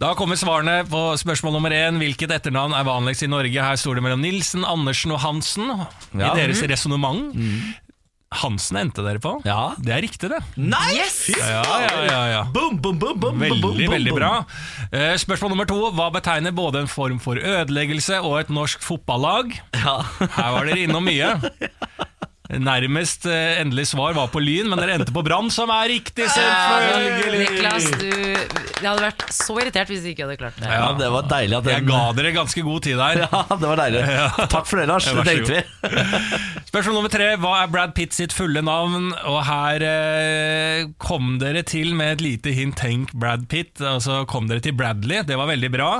S2: Da kommer svarene på spørsmål nummer én. Hvilket etternavn er vanligst i Norge? Her står det mellom Nilsen, Andersen og Hansen. I
S1: Ja. Mhm.
S2: deres resonnement. Hansen endte dere på.
S1: Ja.
S2: Det er riktig, det.
S1: Nei!
S3: Yes!
S2: Ja, ja, ja, ja.
S1: Boom, boom, boom, boom, boom, boom,
S2: Veldig,
S1: boom,
S2: veldig
S1: boom.
S2: bra. Eh, Spørsmål nummer to. Hva betegner både en form for ødeleggelse og et norsk fotballag? Her var dere innom mye. Nærmest eh, endelig svar var på Lyn, men dere endte på Brann, som er riktig,
S3: Niklas,
S2: selvfølgelig!
S3: du Jeg hadde vært så irritert hvis du ikke hadde klart det.
S1: Ja, det var deilig at den
S2: Jeg ga dere ganske god tid der.
S1: Ja, det var deilig. Takk for det, Lars.
S2: Ja,
S1: Det
S2: vær så
S1: tenkte vi.
S2: Spørsmål nummer tre. Hva er Brad Pitt sitt fulle navn? Og her eh, kom dere til med et lite hint. Tenk Brad Pitt. Og så kom dere til Bradley. Det var veldig bra.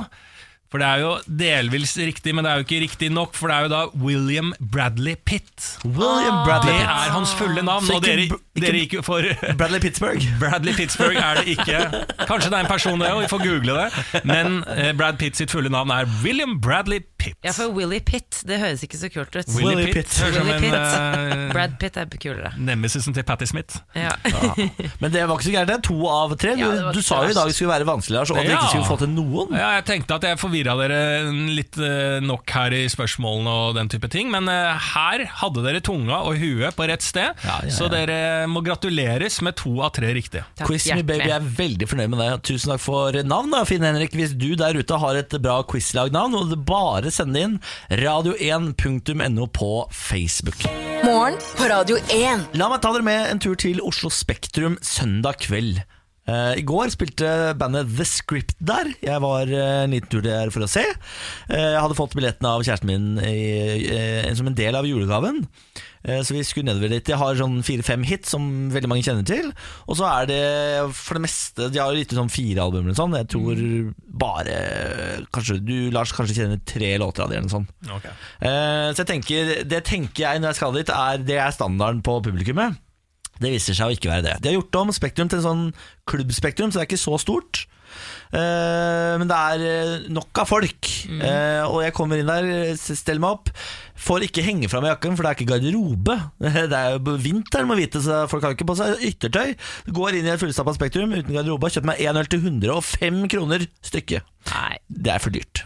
S2: For det er jo delvis riktig, men det er jo ikke riktig nok. For det er jo da William Bradley Pitt.
S1: William Bradley
S2: Ah, Det
S1: Pitt.
S2: er hans fulle navn.
S1: Så
S2: Og
S1: ikke
S2: dere,
S1: Br- ikke-
S2: dere gikk jo for
S1: Bradley Pittsburgh.
S2: Bradley Pittsburgh er det ikke. Kanskje det er en person, det òg. Vi får google det. Men eh, Brad Pitt sitt fulle navn er William Bradley Pitt.
S3: Ja, for Willy Pitt, det høres ikke så kult ut.
S2: Willy Willy Pitt. Pitt. Høres som
S3: Willy
S2: en,
S3: Pitt.
S2: eh,
S3: Brad Pitt er kulere.
S2: Nemesisen til Patti Smith.
S1: Ah,
S3: Ja.
S1: Men det var ikke så gærent. Det er to av tre. Du,
S3: Ja, det var
S1: du
S3: ikke
S1: sa jo i
S3: verst.
S1: dag det skulle være vanskelig, Lars, og at vi ikke skulle få til noen.
S2: Ja, jeg tenkte at jeg forvirra dere litt eh, nok her i spørsmålene og den type ting, men eh, her hadde dere tunga og huet på rett sted,
S1: ja, ja.
S2: så dere må gratuleres med to av tre riktige.
S3: Takk,
S1: Quiz Me Baby, jeg er veldig fornøyd med deg. Tusen takk for navn, da, Finn-Henrik. Hvis du der ute har et bra quizlagnavn, må du bare sende inn radio1.no på Facebook.
S4: Morgen på Radio 1.
S1: La meg ta dere med en tur til Oslo Spektrum søndag kveld. Eh, I går spilte bandet The Script der. Jeg var eh, en liten tur der for å se. Eh, jeg hadde fått billetten av kjæresten min i, eh, som en del av julegaven. Eh, så vi skulle nedover dit. De har sånn fire-fem hits som veldig mange kjenner til. Og så er det for det meste De har gitt ut sånn fire album eller noe sånt. Jeg tror bare Kanskje du, Lars, kanskje kjenner tre låter av det eller noe sånt.
S2: Ok.
S1: Eh, så jeg tenker, det tenker jeg når jeg skal dit, er, det er standarden på publikummet. Det viser seg å ikke være det. De har gjort om Spektrum til en sånn klubbspektrum, så det er ikke så stort. Eh, men det er eh, nok av folk. Eh, og jeg kommer inn der, s- steller meg opp. Får ikke henge fra meg jakken, for det er ikke garderobe. Det er jo vinter, må vite, så folk har ikke på seg yttertøy. Går inn i et fullstappa Spektrum uten garderobe og kjøper meg én øl til 105 kroner stykket.
S3: Nei.
S1: Det er for dyrt.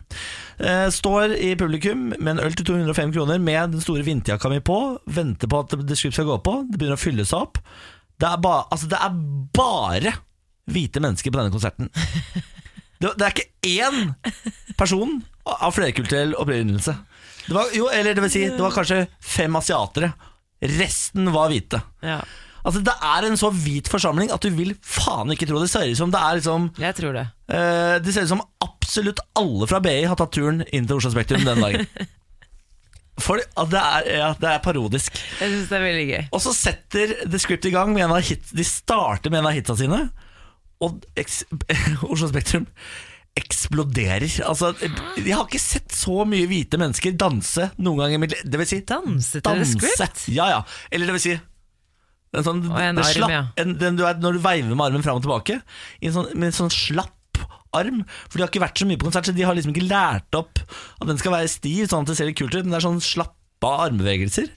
S1: Eh, Står i publikum med en øl til 205 kroner med den store vinterjakka mi på. Venter på at The Script skal gå på. Det begynner å fylle seg opp. Det er, ba altså, det er bare hvite mennesker på denne konserten. Det, det er ikke én person av flerkulturell opprinnelse. Det var, jo, eller det vil si, det var kanskje fem asiatere. Resten var hvite.
S3: Ja.
S1: Altså, det er en så hvit forsamling at du vil faen ikke tro det. Det ser ut som det er liksom
S3: Jeg tror det.
S1: Eh, Det ser ut som absolutt alle fra BI har tatt turen inn til Oslo Spektrum den dagen. For at det, er, ja, det er parodisk.
S3: Jeg syns det er veldig gøy.
S1: Og så setter The Script i gang med en av hit, De starter med en av hitsa sine, og eks, Oslo Spektrum eksploderer. Altså, jeg har ikke sett så mye hvite mennesker danse noen gang i mitt liv. Det vil si
S3: Danse til The
S1: danse.
S3: Script?
S1: Ja, ja. Eller det vil si en sånn,
S3: Og en
S1: det
S3: arm,
S1: slapp,
S3: ja.
S1: en, den du er, Når du veiver med armen fram og tilbake i en sånn, Med en sånn slapp arm For de har ikke vært så mye på konsert Så de har liksom ikke lært opp At den skal være stiv sånn at det ser litt kult ut Men det er sånn slappa armbevegelser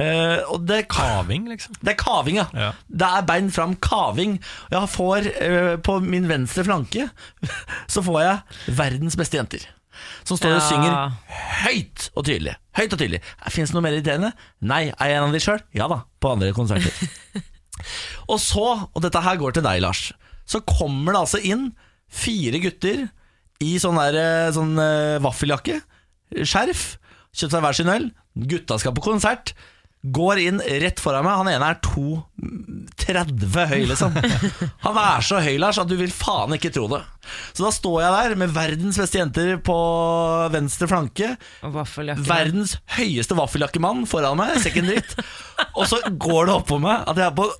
S1: Eh, Og det er
S2: Kaving, liksom.
S1: det er kaving, ja.
S2: Ja.
S1: Det er bein fram kaving. Jeg får eh, på min venstre flanke Så får jeg verdens beste jenter. Som står og
S3: Ja.
S1: synger høyt og tydelig. Høyt og tydelig Fins det noe mer irriterende? Nei. Er jeg en av de sjøl? Ja da. På andre konserter. og så, og dette her går til deg, Lars, så kommer det altså inn fire gutter i sånn, der, eh, sånn eh, vaffeljakke, skjerf, kjøpt seg hver sin øl, gutta skal på konsert, går inn rett foran meg, han ene er 2,30 høy liksom. Han er så høy, Lars, at du vil faen ikke tro det. Så da står jeg der med verdens beste jenter på venstre flanke,
S3: Og vaffeljakke.
S1: verdens høyeste vaffeljakkemann foran meg, ser ikke en dritt, og så går det opp på meg at jeg er på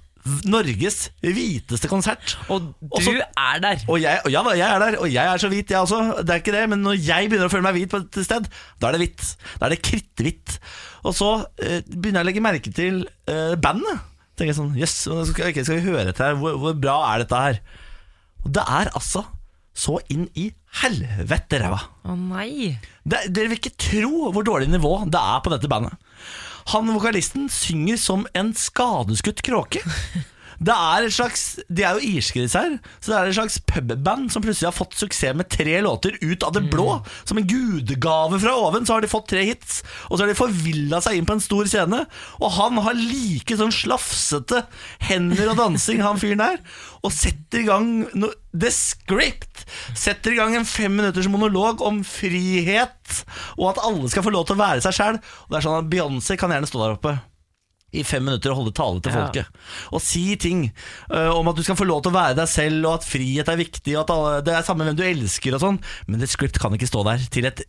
S1: Norges hviteste konsert.
S3: Og du
S1: Og så-
S3: er der!
S1: og jeg, og ja, da, jeg er der, og jeg er så hvit, jeg også. Det er ikke det, men når jeg begynner å føle meg hvit på et sted, da er det hvitt. Da er det kritthvitt. Og så eh, begynner jeg å legge merke til eh, bandet. Tenker jeg sånn, jøss, yes, skal, ok, skal vi høre etter her? Hvor, hvor bra er dette her? Og det er altså så inn i helvete ræva.
S3: Å nei!
S1: Det, dere vil ikke tro hvor dårlig nivå det er på dette bandet. Han vokalisten synger som en skadeskutt kråke. Det er et slags, De er jo irske, disse her. Så det er et slags pubband som plutselig har fått suksess med tre låter ut av det blå. Som en gudegave fra oven, så har de fått tre hits. Og så har de forvilla seg inn på en stor scene. Og han har like sånn slafsete hender og dansing, han fyren der. Og setter i gang no, The Script! Setter i gang en fem minutters monolog om frihet, og at alle skal få lov til å være seg sjæl. Og det er sånn at Beyoncé kan gjerne stå der oppe i fem minutter og holde tale til
S3: Ja.
S1: folket. Og si ting eh, om at du skal få lov til å være deg selv, og at frihet er viktig, og at alle, det er samme hvem du elsker og sånn. Men The Script kan ikke stå der til et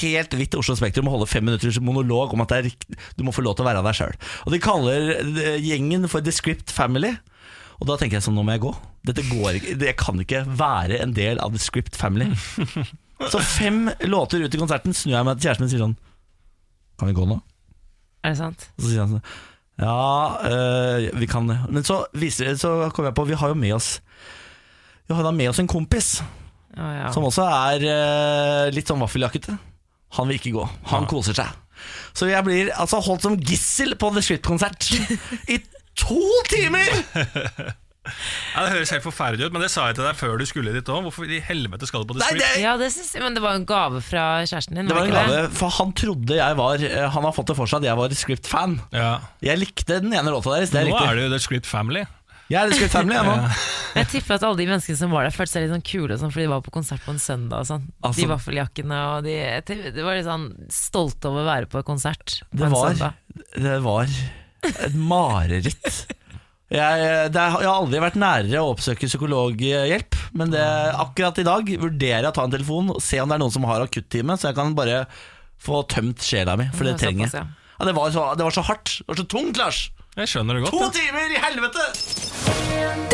S1: helt hvitt Oslo Spektrum og holde fem minutters monolog om at det er rikt, du må få lov til å være deg sjøl. Og de kaller eh, gjengen for The Script Family. Og da tenker jeg sånn, nå må jeg gå. Dette går ikke, Jeg kan ikke være en del av The Script Family. Så fem låter ut i konserten snur jeg meg til kjæresten min og sier sånn Kan vi gå nå?
S3: Er det sant?
S1: Og så sier han sånn Ja, øh, vi kan det. Men så, viser, så kom jeg på Vi har jo med oss Vi har da med oss en kompis
S3: Å ja.
S1: som også er øh, litt sånn eh, vaffeljakkete. Han vil ikke gå. Han koser seg. Så jeg blir altså holdt som gissel på The Shit-konsert i to timer!
S2: Ja, det høres helt forferdelig ut, men det sa jeg til deg før du skulle dit òg. Hvorfor i helvete skal du på The
S1: Nei,
S2: Street?
S3: Ja, det synes jeg, men det var jo en gave fra kjæresten din.
S1: Det var en
S3: ikke
S1: gave, for han trodde jeg var eh, Han har fått det for seg at jeg var Script-fan. Jeg likte den ene låta deres. Det er
S2: Nå
S1: riktig.
S2: er det jo The Script Family.
S1: Jeg er The Script Family, jeg nå.
S3: Men Jeg tipper at alle de menneskene som var der, følte seg litt sånn kule og sånn, fordi de var på konsert på en søndag. Og sånn.
S1: Altså-
S3: de vaffeljakkene og de jeg tipper- De var litt sånn stolte over å være på konsert på
S1: Det
S3: en
S1: var,
S3: søndag.
S1: det var et mareritt. Jeg, det er, jeg har aldri vært nærere å oppsøke psykologhjelp, men det, akkurat i dag vurderer jeg å ta en telefon og se om det er noen som har akuttime, så jeg kan bare få tømt sjela mi, for det
S3: Det var
S1: trenger
S3: såpass, ja.
S1: jeg. Ja, det, var så, det var så hardt. Det var så tungt, Lars.
S2: Jeg skjønner det godt.
S1: To
S2: ja.
S1: timer i helvete!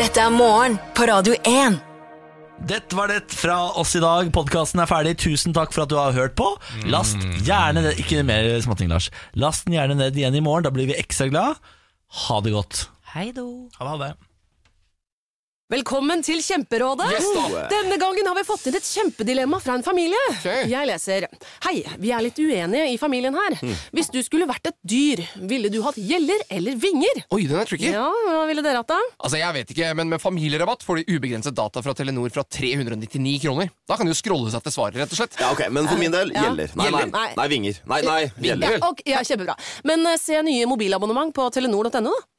S4: Dette er morgen på Radio 1.
S1: Dette var det fra oss i dag. Podkasten er ferdig. Tusen takk for at du har hørt på. Last gjerne ned Ikke mer småting, Lars. Last den gjerne ned igjen i morgen. Da blir vi ekstra glad. Ha det godt.
S3: Hei do.
S2: Ha det.
S9: Velkommen til Kjemperådet.
S10: Yes, da.
S9: Denne gangen har vi fått inn et kjempedilemma fra en familie.
S10: Ok.
S9: Jeg leser Hei, vi er litt uenige i familien her.
S10: Mm.
S9: Hvis du skulle vært et dyr, ville du hatt gjeller eller vinger?
S10: Oi, den er tricky.
S9: Ja, hva ville dere hatt da?
S10: Altså, jeg vet ikke, men Med familierabatt får de ubegrenset data fra Telenor fra 399 kroner. Da kan de jo scrolle seg til svaret, rett og slett.
S11: Ja, ok, Men for min del
S9: Eh, Ja.
S11: gjelder. Nei, nei,
S9: Gjelder? Nei.
S11: nei, vinger. Nei, nei,
S9: Ja,
S11: gjelder.
S9: ok, ja, kjempebra. Men eh, se nye mobilabonnement på telenor.no, da.